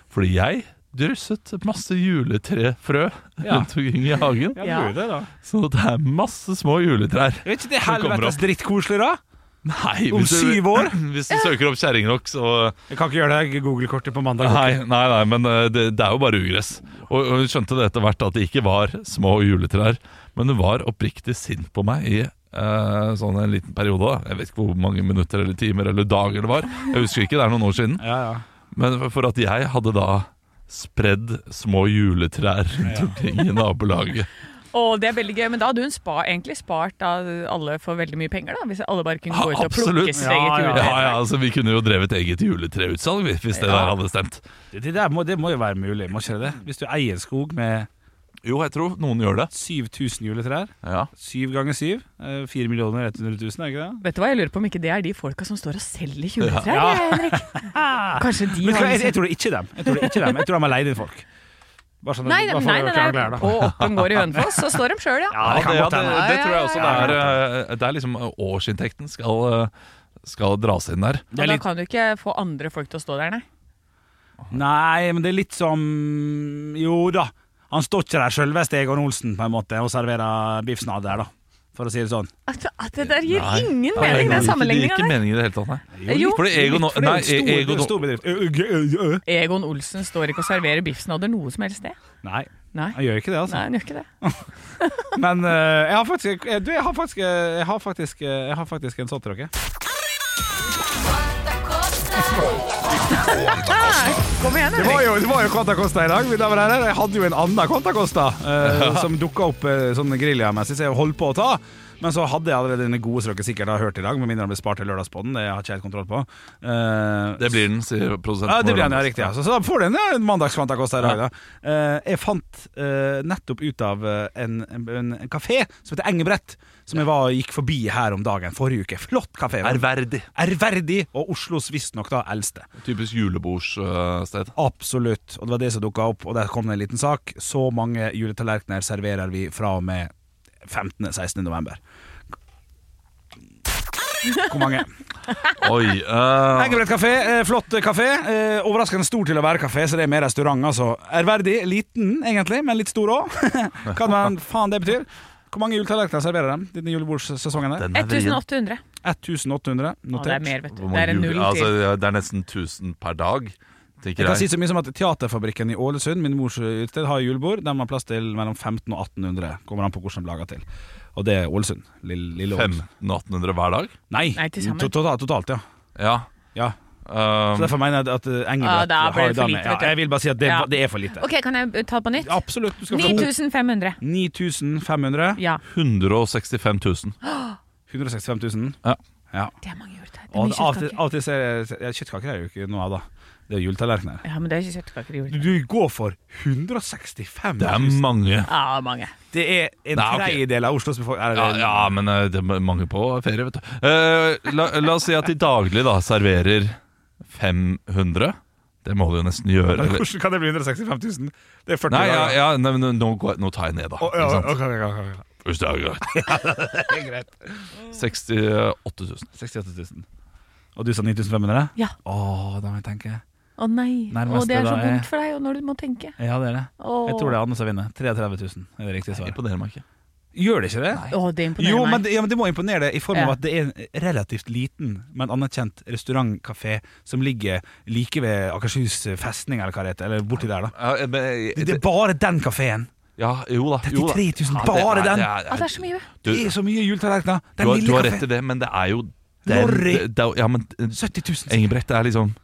[SPEAKER 4] Fordi jeg drysset masse juletrefrø
[SPEAKER 3] Ja.
[SPEAKER 4] rundt omkring i hagen.
[SPEAKER 3] Ja,
[SPEAKER 2] Ja.
[SPEAKER 3] det burde det, da.
[SPEAKER 4] Så det er masse små juletrær.
[SPEAKER 3] Er ikke det
[SPEAKER 4] kommer
[SPEAKER 3] helvetes
[SPEAKER 4] opp.
[SPEAKER 3] drittkoselig, da?
[SPEAKER 4] Nei,
[SPEAKER 3] Om
[SPEAKER 4] hvis du-
[SPEAKER 3] syv år?
[SPEAKER 4] *laughs* Hvis du søker opp kjerringrock, så
[SPEAKER 3] Jeg kan ikke gjøre det Google-kortet på mandag.
[SPEAKER 4] Nei, nei, nei men eh, det, det er jo bare ugress. Og, og hun skjønte det etter hvert at det ikke var små juletrær, men hun var oppriktig sint på meg i eh, sånn en liten periode. da. Jeg vet ikke hvor mange minutter eller timer eller dager det var. Jeg husker ikke, det er noen år siden.
[SPEAKER 3] Ja, ja.
[SPEAKER 4] Men for- for at jeg hadde da spredd små juletrær rundt omkring i nabolaget.
[SPEAKER 2] Og det er veldig gøy, men da hadde hun spa, egentlig spart da, alle for veldig mye penger, da. Hvis alle bare kunne gå ut og plukke sitt eget
[SPEAKER 4] Ja,
[SPEAKER 2] jule.
[SPEAKER 4] ja, altså, vi kunne jo drevet eget juletreutsalg vi, hvis det der hadde stemt.
[SPEAKER 3] Det, det der må, det må jo være mulig, må ikke det det? Hvis du eier en skog med
[SPEAKER 4] Jo, jeg tror noen gjør det.
[SPEAKER 3] 7000 juletrær,
[SPEAKER 4] Ja.
[SPEAKER 3] syv ganger syv, eh, 4 millioner 100 000, er ikke det?
[SPEAKER 2] Vet du hva, jeg lurer på om ikke det er de folka som står og selger juletrær, jeg, Henrik. Kanskje de
[SPEAKER 3] Men
[SPEAKER 2] har
[SPEAKER 3] hva, jeg,
[SPEAKER 2] liksom-
[SPEAKER 3] jeg tror det ikke dem. Jeg tror det ikke dem Jeg tror de har leid inn folk. Bare sånn at-
[SPEAKER 2] Nei, nei,
[SPEAKER 3] bare for
[SPEAKER 2] nei,
[SPEAKER 3] å
[SPEAKER 2] nei,
[SPEAKER 3] klare
[SPEAKER 2] nei.
[SPEAKER 3] glede, da.
[SPEAKER 2] på Åpen gård i Hønefoss, så står de sjøl, ja.
[SPEAKER 3] Ja, det kan godt hende.
[SPEAKER 4] det tror jeg også
[SPEAKER 3] Ja,
[SPEAKER 4] det er. eh, Det er liksom eh, årsinntekten skal, eh, skal dras inn der.
[SPEAKER 3] det er
[SPEAKER 2] Og da
[SPEAKER 3] litt-
[SPEAKER 2] kan du ikke få andre folk til å stå der, nei.
[SPEAKER 3] Nei, men det er litt som Jo da. Han står ikke der sjølveste Egon Olsen, på en måte, og serverer biffsnadd der, da. For å si det sånn.
[SPEAKER 2] At, at det der gir
[SPEAKER 4] Nei.
[SPEAKER 2] ingen
[SPEAKER 4] Nei,
[SPEAKER 2] mening, den
[SPEAKER 4] det gir ikke- Det gir
[SPEAKER 2] sammenligninga
[SPEAKER 4] ikke
[SPEAKER 2] der.
[SPEAKER 4] mening i det hele tatt, nei.
[SPEAKER 2] Jo,
[SPEAKER 4] Fordi Egon,
[SPEAKER 3] For
[SPEAKER 4] nei,
[SPEAKER 3] det er jo en stor- det er jo
[SPEAKER 4] E- Egon,
[SPEAKER 3] en stor bedrift. Ø, ø, ø, ø, ø.
[SPEAKER 2] Egon Olsen står ikke og serverer biffsnadder noe som helst sted.
[SPEAKER 3] Nei,
[SPEAKER 2] Nei.
[SPEAKER 3] han gjør ikke det, altså.
[SPEAKER 2] Nei, han gjør ikke det.
[SPEAKER 3] Men eh, jeg har faktisk eh, Du, jeg har faktisk eh, Jeg har faktisk, eh, jeg har faktisk en sånn til dere.
[SPEAKER 2] Kom igjen,
[SPEAKER 3] Det var
[SPEAKER 2] Henrik.
[SPEAKER 3] jo, det var jo Conta Costa i dag. mine damer og herrer. Jeg hadde jo en annen Conta Costa eh, som dukka opp eh, sånn griljamessig, så jeg holdt på å ta. Men så hadde jeg allerede den gode som dere sikkert har hørt i dag, med mindre den ble spart til lørdagspodden. Det har jeg ikke helt kontroll på. Eh,
[SPEAKER 4] Det blir den, sier produsenten.
[SPEAKER 3] ja, det blir den, ja,
[SPEAKER 4] vår.
[SPEAKER 3] riktig. Ja. Så, så da får du en, ja, en mandags-Fanta Costa i dag, da. Eh, jeg fant eh, nettopp ut av eh, en, en, en kafé som heter Engebrett, som jeg var og gikk forbi her om dagen forrige uke. Flott kafé. vel?
[SPEAKER 4] Ærverdig.
[SPEAKER 3] Ærverdig, og Oslos visstnok da eldste.
[SPEAKER 4] Typisk eh, julebordsted.
[SPEAKER 3] Absolutt. Og det var det som dukka opp, og der kom det en liten sak. Så mange juletallerkener serverer vi fra og med 15.-16. november. Hvor mange?
[SPEAKER 4] Oi. eh,
[SPEAKER 3] Engebrett kafé, eh, flott kafé. Eh, overraskende stor til å være kafé, så det er mer restaurant, altså. Ærverdig. Liten, egentlig, men litt stor òg. *laughs* Hva man faen det betyr. Hvor mange juletallerkener serverer de denne julebordsesongen? her?
[SPEAKER 4] den er vrien.
[SPEAKER 2] 1800.
[SPEAKER 3] 1800,
[SPEAKER 2] Å, det er
[SPEAKER 3] notert.
[SPEAKER 2] mer, vet du.
[SPEAKER 4] Hvor
[SPEAKER 2] Det er
[SPEAKER 4] mange
[SPEAKER 2] en
[SPEAKER 4] jule-
[SPEAKER 2] null
[SPEAKER 4] altså,
[SPEAKER 2] til.
[SPEAKER 4] ja, det er nesten 1000 per dag, tenker
[SPEAKER 3] Jeg kan si
[SPEAKER 4] jeg.
[SPEAKER 3] så mye som at Teaterfabrikken i Ålesund, min mors utested, har julebord. De har plass til mellom 15 og 1800, kommer an på hvordan de lager til. Og det er Ålesund. Lille, lille Ålesund.
[SPEAKER 4] 1500-1800 hver dag?
[SPEAKER 3] Nei,
[SPEAKER 2] Nei, til sammen.
[SPEAKER 3] to- totalt, totalt, ja.
[SPEAKER 4] Ja.
[SPEAKER 3] ja.
[SPEAKER 4] eh,
[SPEAKER 3] Så Derfor mener jeg at eh,
[SPEAKER 2] Ja,
[SPEAKER 3] Engebrett
[SPEAKER 2] da ble
[SPEAKER 3] har
[SPEAKER 2] det for
[SPEAKER 3] da med-
[SPEAKER 2] lite, vet du.
[SPEAKER 3] Ja, jeg vil bare si at det,
[SPEAKER 2] Ja.
[SPEAKER 3] det er for lite.
[SPEAKER 2] Ok, kan jeg eh, ta det på nytt?
[SPEAKER 3] Absolutt. Du skal få
[SPEAKER 2] 9500.
[SPEAKER 3] 9500.
[SPEAKER 2] Ja.
[SPEAKER 4] 165 000.
[SPEAKER 3] 165 000.
[SPEAKER 4] Ja.
[SPEAKER 3] Ja.
[SPEAKER 2] Det er mange juletrær. Det er
[SPEAKER 3] Og
[SPEAKER 2] mye
[SPEAKER 3] av og til-
[SPEAKER 2] kjøttkaker.
[SPEAKER 3] av og til ser jeg ja, Kjøttkaker er jo ikke noe av, da. Det er jo juletallerkener.
[SPEAKER 2] Ja, men det er ikke kjøttkaker i
[SPEAKER 3] Du
[SPEAKER 2] juletrær.
[SPEAKER 3] du går for 165
[SPEAKER 4] Det er
[SPEAKER 3] 000.
[SPEAKER 4] mange.
[SPEAKER 2] Ja, mange.
[SPEAKER 3] Det er en
[SPEAKER 4] Nei, ok.
[SPEAKER 3] tredjedel av Oslos befolkning.
[SPEAKER 4] Ja, ja men eh, det er mange på ferie, vet du. Eh, la, la oss si at de daglig da serverer 500. Det må de jo nesten gjøre.
[SPEAKER 3] Men
[SPEAKER 4] Eller?
[SPEAKER 3] Hvordan kan det bli 165 000? Det er 40
[SPEAKER 4] Nei, ja,
[SPEAKER 3] dager.
[SPEAKER 4] ja, nei, men nå, går, nå tar jeg ned, da.
[SPEAKER 3] Å, ja,
[SPEAKER 4] Ikke sant?
[SPEAKER 3] ok, ok, ok, ok.
[SPEAKER 4] *laughs* Hvis det er greit. 68 000.
[SPEAKER 3] 68 000. Og du sa 9500?
[SPEAKER 2] Ja.
[SPEAKER 3] Å, da må jeg tenke.
[SPEAKER 2] Å nei.
[SPEAKER 3] Nærmeste
[SPEAKER 2] Å, det er så
[SPEAKER 3] da er-
[SPEAKER 2] vondt for deg og når du må tenke.
[SPEAKER 3] Ja, det er det.
[SPEAKER 2] Åh.
[SPEAKER 3] Jeg tror det er Anne som vinner. 33 000 er det riktige svaret.
[SPEAKER 4] Imponerer meg ikke.
[SPEAKER 3] Gjør det ikke det?
[SPEAKER 2] Å, det
[SPEAKER 3] Jo,
[SPEAKER 2] imponerer
[SPEAKER 3] men
[SPEAKER 2] meg.
[SPEAKER 3] det, ja, men det må imponere det i form av
[SPEAKER 2] Ja.
[SPEAKER 3] at det er en relativt liten, men anerkjent restaurantkafé som ligger like ved Akershus festning, eller hva det heter, eller borti der, da.
[SPEAKER 4] Ja, eh, men, eh,
[SPEAKER 3] Det er bare den kafeen!
[SPEAKER 4] ja, jo da. Jo da.
[SPEAKER 3] 33 000,
[SPEAKER 4] Ja, det
[SPEAKER 3] bare
[SPEAKER 4] er-
[SPEAKER 3] den!
[SPEAKER 4] det er-
[SPEAKER 2] Å, det er så mye.
[SPEAKER 4] Du,
[SPEAKER 3] Det er så mye juletallerkener!
[SPEAKER 4] du,
[SPEAKER 3] Den
[SPEAKER 4] har, du
[SPEAKER 3] lille
[SPEAKER 4] har rett i
[SPEAKER 3] kafeen.
[SPEAKER 4] det, men det er jo
[SPEAKER 3] Lorry.
[SPEAKER 4] det, det, er- ja, men, eh,
[SPEAKER 3] 70 000.
[SPEAKER 4] Engebrett er liksom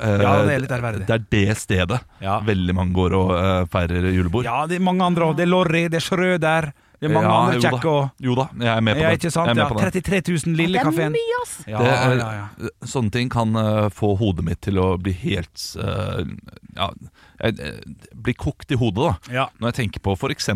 [SPEAKER 4] eh,
[SPEAKER 3] Ja, det er litt ærverdig.
[SPEAKER 4] Det er det stedet
[SPEAKER 3] Ja.
[SPEAKER 4] veldig mange går og eh, feirer julebord.
[SPEAKER 3] Ja, det er mange andre òg. Det er Lorry, det er Schrøder, det er mange
[SPEAKER 4] Ja,
[SPEAKER 3] andre
[SPEAKER 4] jo da.
[SPEAKER 3] kjekke òg.
[SPEAKER 4] Jo da, jeg er med på
[SPEAKER 3] Ja,
[SPEAKER 4] den.
[SPEAKER 3] ikke
[SPEAKER 4] Jeg
[SPEAKER 3] sant?
[SPEAKER 4] er med
[SPEAKER 3] Ja,
[SPEAKER 4] på den.
[SPEAKER 3] 33 000
[SPEAKER 2] Det
[SPEAKER 3] lille
[SPEAKER 2] er
[SPEAKER 3] kafeen.
[SPEAKER 2] mye, ass.
[SPEAKER 3] Ja,
[SPEAKER 4] Det er-
[SPEAKER 3] ja, ja.
[SPEAKER 4] Sånne ting kan eh, få hodet mitt til å bli helt eh, Ja, jeg, eh, bli kokt i hodet, da.
[SPEAKER 3] Ja.
[SPEAKER 4] Når jeg tenker på f.eks. at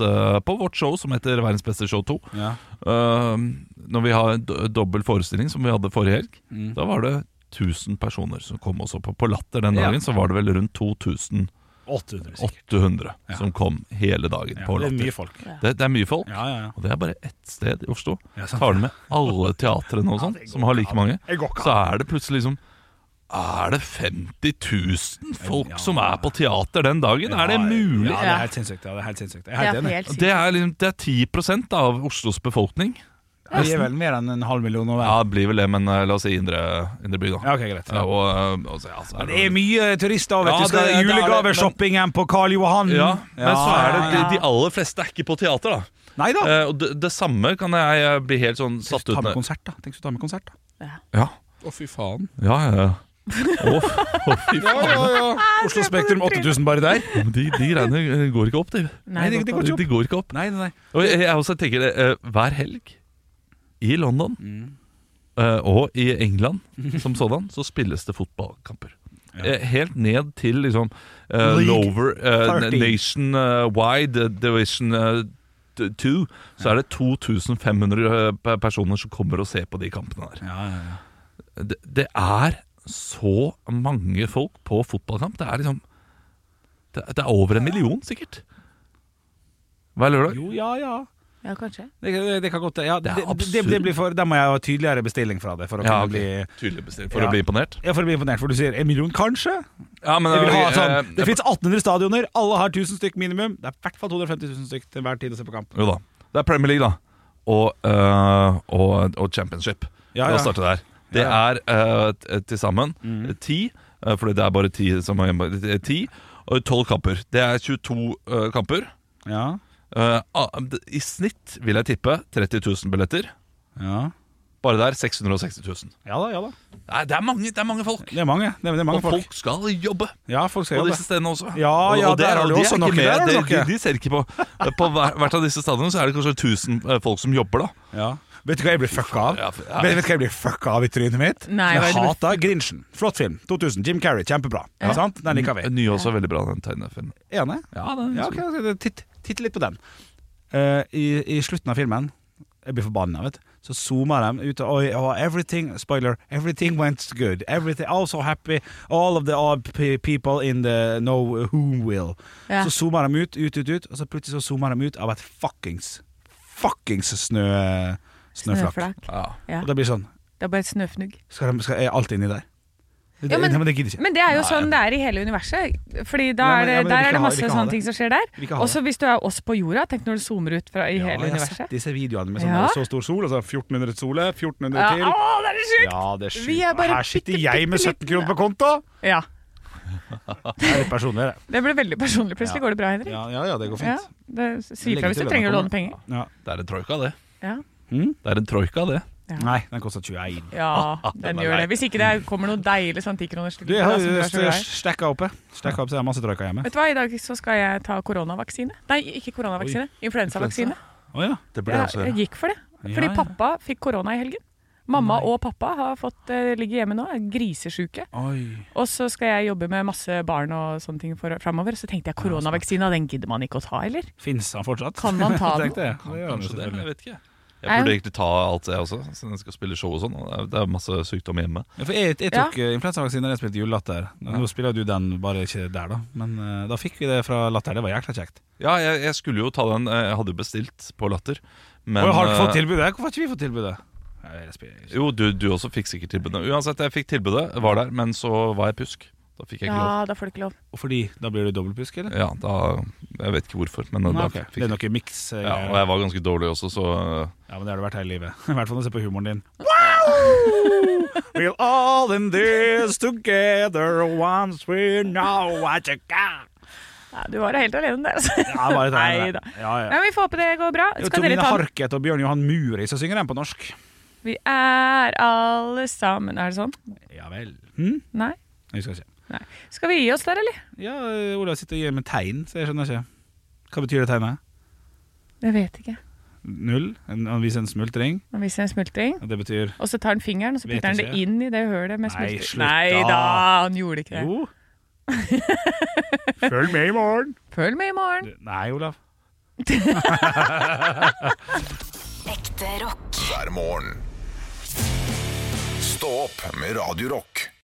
[SPEAKER 4] eh, på vårt show som heter Verdens beste show 2
[SPEAKER 3] Ja.
[SPEAKER 4] eh, Når vi har en do- dobbel forestilling som vi hadde forrige helg,
[SPEAKER 3] Mm.
[SPEAKER 4] da var det 1000 personer som kom også på. På Latter den
[SPEAKER 3] Ja.
[SPEAKER 4] dagen så var det vel rundt 2800
[SPEAKER 3] 800 Ja.
[SPEAKER 4] som kom hele dagen
[SPEAKER 3] Ja,
[SPEAKER 4] på
[SPEAKER 3] det er
[SPEAKER 4] Latter.
[SPEAKER 3] mye folk.
[SPEAKER 4] Det, det er mye folk.
[SPEAKER 3] Ja, ja, ja.
[SPEAKER 4] Og det er bare ett sted i Oslo.
[SPEAKER 3] Ja, sant.
[SPEAKER 4] Tar du med alle teatrene og sånn, som har like mange,
[SPEAKER 3] Det går ikke an.
[SPEAKER 4] så er det plutselig liksom Er det 50 000 folk
[SPEAKER 3] Ja.
[SPEAKER 4] som er på teater den dagen? er det mulig?
[SPEAKER 3] Ja, det er helt sinnssykt. Ja, det er helt sinnssykt. Jeg er helt
[SPEAKER 2] Det er
[SPEAKER 3] enig.
[SPEAKER 2] helt sykt.
[SPEAKER 4] Det er, liksom, det er 10 av Oslos befolkning.
[SPEAKER 3] Det gir vel mer enn en halv million nå.
[SPEAKER 4] Ja,
[SPEAKER 3] vel?
[SPEAKER 4] det blir vel det, men eh, la oss si indre, indre by, da.
[SPEAKER 3] Ja, ok, greit.
[SPEAKER 4] Ja, og, eh, altså, ja, så er
[SPEAKER 3] Det er mye turister, vet
[SPEAKER 4] Ja,
[SPEAKER 3] du. Skal
[SPEAKER 4] det- det er det,
[SPEAKER 3] julegaveshoppingen på Karl Johan.
[SPEAKER 4] ja, men så er det de,
[SPEAKER 3] ja,
[SPEAKER 4] de aller fleste er ikke på teater,
[SPEAKER 3] ja.
[SPEAKER 4] da.
[SPEAKER 3] Nei da.
[SPEAKER 4] Eh, og det, det samme kan jeg eh, bli helt sånn satt ut
[SPEAKER 3] Ta med
[SPEAKER 4] med.
[SPEAKER 3] konsert, da. Tenk hvis du tar med konsert, da.
[SPEAKER 4] Ja.
[SPEAKER 3] Å, fy faen.
[SPEAKER 4] Ja, ja, ja. Å, fy faen.
[SPEAKER 3] Oslo Spektrum 8000 bare der.
[SPEAKER 4] De, de greiene eh, går ikke opp, de.
[SPEAKER 2] Nei,
[SPEAKER 3] det- det går ikke opp.
[SPEAKER 4] De går ikke opp.
[SPEAKER 3] Nei, nei, nei.
[SPEAKER 4] Og jeg, jeg også tenker det, eh, hver helg i London eh, og i England
[SPEAKER 3] *laughs*
[SPEAKER 4] som sådan, så spilles det fotballkamper. Eh, Helt ned til liksom eh,
[SPEAKER 3] League
[SPEAKER 4] lower eh,
[SPEAKER 3] 13.
[SPEAKER 4] nation eh, wide eh, division eh, t- two, så er det 2500 eh, pe- personer som kommer og ser på de kampene der.
[SPEAKER 3] Ja, ja, ja.
[SPEAKER 4] Det, det er så mange folk på fotballkamp. Det er liksom Det, det er over en million, sikkert. Hver lørdag.
[SPEAKER 3] Jo, ja, ja.
[SPEAKER 2] Ja, kanskje.
[SPEAKER 3] Det, det, det kan godt ja, det,
[SPEAKER 4] er
[SPEAKER 3] det, det,
[SPEAKER 4] absurd.
[SPEAKER 3] blir for, Da må jeg ha tydeligere bestilling fra deg for å,
[SPEAKER 4] Ja,
[SPEAKER 3] kunne
[SPEAKER 4] ok.
[SPEAKER 3] bli,
[SPEAKER 4] Tydelig bestemt for
[SPEAKER 3] Ja.
[SPEAKER 4] å bli imponert.
[SPEAKER 3] ja, for å bli imponert. For du sier en million, kanskje?
[SPEAKER 4] Ja, men,
[SPEAKER 3] Jeg vil ha
[SPEAKER 4] eh,
[SPEAKER 3] sånn,
[SPEAKER 4] eh,
[SPEAKER 3] det fins 1800 stadioner, alle har 1000 stykk minimum. Det er i hvert fall 250 000 stykk til hver tid å se på kamp.
[SPEAKER 4] Jo da. Det er Premier League, da. Og, eh, og, og Championship.
[SPEAKER 3] Ja,
[SPEAKER 4] La
[SPEAKER 3] ja.
[SPEAKER 4] oss starte der. Det
[SPEAKER 3] Ja. Mm.
[SPEAKER 4] er eh, t- til sammen ti, eh, fordi det er bare ti som er hjemme. det er Ti og tolv kamper. Det er 22 eh, kamper.
[SPEAKER 3] Ja,
[SPEAKER 4] Eh, ah, d- I snitt vil jeg tippe 30 000 billetter.
[SPEAKER 3] ja.
[SPEAKER 4] Bare der 660 000.
[SPEAKER 3] ja da, ja da.
[SPEAKER 4] Nei, det er mange, det er mange folk.
[SPEAKER 3] Det er mange, det er, det er mange
[SPEAKER 4] og folk.
[SPEAKER 3] folk.
[SPEAKER 4] skal jobbe
[SPEAKER 3] Ja, folk
[SPEAKER 4] på
[SPEAKER 3] skal jobbe.
[SPEAKER 4] disse stedene også.
[SPEAKER 3] Ja,
[SPEAKER 4] og,
[SPEAKER 3] ja,
[SPEAKER 4] og det
[SPEAKER 3] der
[SPEAKER 4] er-
[SPEAKER 3] har du
[SPEAKER 4] de er
[SPEAKER 3] også
[SPEAKER 4] ikke
[SPEAKER 3] noe,
[SPEAKER 4] med.
[SPEAKER 3] der har du
[SPEAKER 4] De,
[SPEAKER 3] noe.
[SPEAKER 4] de, de ser ikke på På hver, hvert av disse stadionene så er det kanskje 1000 folk som jobber, da.
[SPEAKER 3] Ja. Vet du hva jeg blir fucka av?
[SPEAKER 4] Ja, for- ja.
[SPEAKER 3] Vet, vet du hva jeg blir fucka av i trynet mitt?
[SPEAKER 2] Nei, hva er
[SPEAKER 3] jeg
[SPEAKER 2] det du-
[SPEAKER 3] hater Grinchen. Flott film. 2000. Jim Carrey, kjempebra. Sant? Den liker vi.
[SPEAKER 4] Nyås Eh, er veldig bra, den tegnefilmen.
[SPEAKER 3] Enig?
[SPEAKER 4] Ja, den
[SPEAKER 3] Ja, ok, ok, titt, titt litt på den. Eh, i, I slutten av filmen Jeg blir forbanna, vet du. Så zoomer de ut og, og everything, Spoiler. Everything went good. Everything, I'm so happy. All of the odd pe- people in the know who will.
[SPEAKER 2] Ja.
[SPEAKER 3] Så zoomer de ut, ut, ut, ut, og så plutselig så zoomer de ut av et fuckings fuckings snø, snøflak.
[SPEAKER 2] Snøflak.
[SPEAKER 4] ja.
[SPEAKER 2] Ja.
[SPEAKER 3] Og det blir sånn
[SPEAKER 2] Det er bare et snøfnugg.
[SPEAKER 3] Skal, de, skal er alt inni der? Det,
[SPEAKER 2] Ja, men-
[SPEAKER 3] nei, men det gidder ikke.
[SPEAKER 2] Men det er jo sånn det er i hele universet. Fordi da
[SPEAKER 3] Nei,
[SPEAKER 2] er
[SPEAKER 3] men-
[SPEAKER 2] det,
[SPEAKER 3] ja, men vi
[SPEAKER 2] der
[SPEAKER 3] kan
[SPEAKER 2] er det
[SPEAKER 3] ha-
[SPEAKER 2] masse
[SPEAKER 3] vi kan ha
[SPEAKER 2] sånne
[SPEAKER 3] det.
[SPEAKER 2] ting som skjer der.
[SPEAKER 3] Vi kan ha
[SPEAKER 2] Også hvis du er oss på jorda, tenk når du zoomer ut fra, i
[SPEAKER 3] ja,
[SPEAKER 2] hele
[SPEAKER 3] jeg har sett
[SPEAKER 2] universet.
[SPEAKER 3] disse videoene med sånn
[SPEAKER 2] Ja.
[SPEAKER 3] så stor sol. Altså 1400 sole, 1400
[SPEAKER 2] Ja,
[SPEAKER 3] til.
[SPEAKER 2] å, det er så sjukt!
[SPEAKER 3] Ja, det er sjukt.
[SPEAKER 2] Vi er bare
[SPEAKER 3] Her sitter
[SPEAKER 2] bitte,
[SPEAKER 3] jeg med
[SPEAKER 2] bitte
[SPEAKER 3] 17 kroner på konto!
[SPEAKER 2] Ja.
[SPEAKER 3] Det er litt personlig, det.
[SPEAKER 2] Det ble veldig personlig. Plutselig går det bra, Henrik.
[SPEAKER 3] Ja, ja, ja, det går
[SPEAKER 2] Ja,
[SPEAKER 3] fint.
[SPEAKER 2] det Si
[SPEAKER 3] Legg
[SPEAKER 2] fra hvis
[SPEAKER 3] til
[SPEAKER 2] du
[SPEAKER 3] lønna
[SPEAKER 2] trenger å
[SPEAKER 3] kommer.
[SPEAKER 2] låne penger.
[SPEAKER 3] Ja.
[SPEAKER 4] Det er en troika, det.
[SPEAKER 2] Ja.
[SPEAKER 4] Det er en troika, det.
[SPEAKER 3] Mm. Nei, den koster 21. *laughs*
[SPEAKER 2] Ja,
[SPEAKER 3] Ah,
[SPEAKER 2] den gjør det. Hvis ikke det kommer noe deilig sånn tikroners
[SPEAKER 3] Du, jeg har
[SPEAKER 2] Vet
[SPEAKER 3] stekka oppe. Stekka opp, så jeg har masse trøyka hjemme.
[SPEAKER 2] du hva, i dag så skal jeg ta koronavaksine. Nei, ikke koronavaksine. Influensavaksine.
[SPEAKER 3] Å ja.
[SPEAKER 4] Det
[SPEAKER 2] Ja,
[SPEAKER 3] altså-
[SPEAKER 2] jeg gikk for det. Fordi
[SPEAKER 3] Ja, ja.
[SPEAKER 2] pappa fikk korona i helgen. Mamma og pappa har fått, eh, ligger hjemme nå, er grisesjuke.
[SPEAKER 3] Oi.
[SPEAKER 2] Og så skal jeg jobbe med masse barn og sånne ting for, framover. Så tenkte jeg koronavaksina, den gidder man ikke å ta, eller?
[SPEAKER 3] Fins han fortsatt?
[SPEAKER 2] Kan man ta den?
[SPEAKER 3] Tenkte *laughs* jeg. Det gjør han jo
[SPEAKER 4] Kanskje det, jeg
[SPEAKER 3] selvfølgelig.
[SPEAKER 4] vet ikke. Jeg
[SPEAKER 2] Nei.
[SPEAKER 4] burde egentlig ta alt det også, siden jeg skal spille show og sånn. og det er- Det er masse sykdom hjemme.
[SPEAKER 3] Ja, for jeg, jeg tok ja. influensavaksine da jeg spilte julelatter. Nå spiller du den bare ikke der, da. Men eh, da fikk vi det fra latter. Det var jækla kjekt.
[SPEAKER 4] Ja, jeg, jeg skulle jo ta den. eh, Jeg hadde jo bestilt på Latter. Men
[SPEAKER 3] Oi, har du
[SPEAKER 4] eh,
[SPEAKER 3] fått tilbudet? Hvorfor har ikke vi fått tilbudet? Nei, jeg spiller ikke.
[SPEAKER 4] Jo, du, du også fikk sikkert tilbudet. Uansett, jeg fikk tilbudet, var der, men så var jeg pjusk. Da fikk jeg ikke lov.
[SPEAKER 2] Ja, da får du ikke lov.
[SPEAKER 3] Og Fordi da blir du dobbeltpusk, eller?
[SPEAKER 4] Ja, da Jeg vet ikke hvorfor, men
[SPEAKER 3] Nei,
[SPEAKER 4] da
[SPEAKER 3] ok.
[SPEAKER 4] fikk
[SPEAKER 3] Det er
[SPEAKER 4] jeg
[SPEAKER 3] noe miks. eh,
[SPEAKER 4] ja, Og jeg var ganske dårlig også, så eh,
[SPEAKER 3] Ja, men det har det vært hele livet. *laughs* I hvert fall når du ser på humoren din. Wow! We're all in this together once we know what you got.
[SPEAKER 2] Nei, du var da helt alene der, altså.
[SPEAKER 3] Ja, bare ta den der.
[SPEAKER 2] Neida.
[SPEAKER 3] Ja, ja.
[SPEAKER 2] *laughs* Nei, vi får håpe det går bra.
[SPEAKER 3] Jo,
[SPEAKER 2] Skal dere
[SPEAKER 3] Tomine
[SPEAKER 2] ta den?
[SPEAKER 3] Harket og Bjørn Johan Muri som synger den på norsk.
[SPEAKER 2] Vi er alle sammen. Er det sånn?
[SPEAKER 3] Ja vel. Hm?
[SPEAKER 2] Nei?
[SPEAKER 3] Jeg husker ikke.
[SPEAKER 2] Nei. Skal vi gi oss der, eller?
[SPEAKER 3] Ja, eh, Olav sitter og gir meg tegn, så jeg skjønner ikke. Hva betyr det tegnet?
[SPEAKER 2] Jeg vet ikke.
[SPEAKER 3] Null? En, han viser en smultring?
[SPEAKER 2] Han viser en smultring,
[SPEAKER 3] Og det betyr
[SPEAKER 2] og så tar han fingeren og så
[SPEAKER 3] Vet
[SPEAKER 2] putter han det
[SPEAKER 3] ikke.
[SPEAKER 2] inn i det hølet med
[SPEAKER 3] Nei,
[SPEAKER 2] smultring.
[SPEAKER 3] slutt
[SPEAKER 2] Nei
[SPEAKER 3] da.
[SPEAKER 2] da, han gjorde ikke det. *laughs*
[SPEAKER 3] Jo. Følg med i morgen.
[SPEAKER 2] Følg med i morgen.
[SPEAKER 3] Nei, Olav.
[SPEAKER 5] Ekte rock.
[SPEAKER 1] hver morgen. Stå opp med Radio Rock.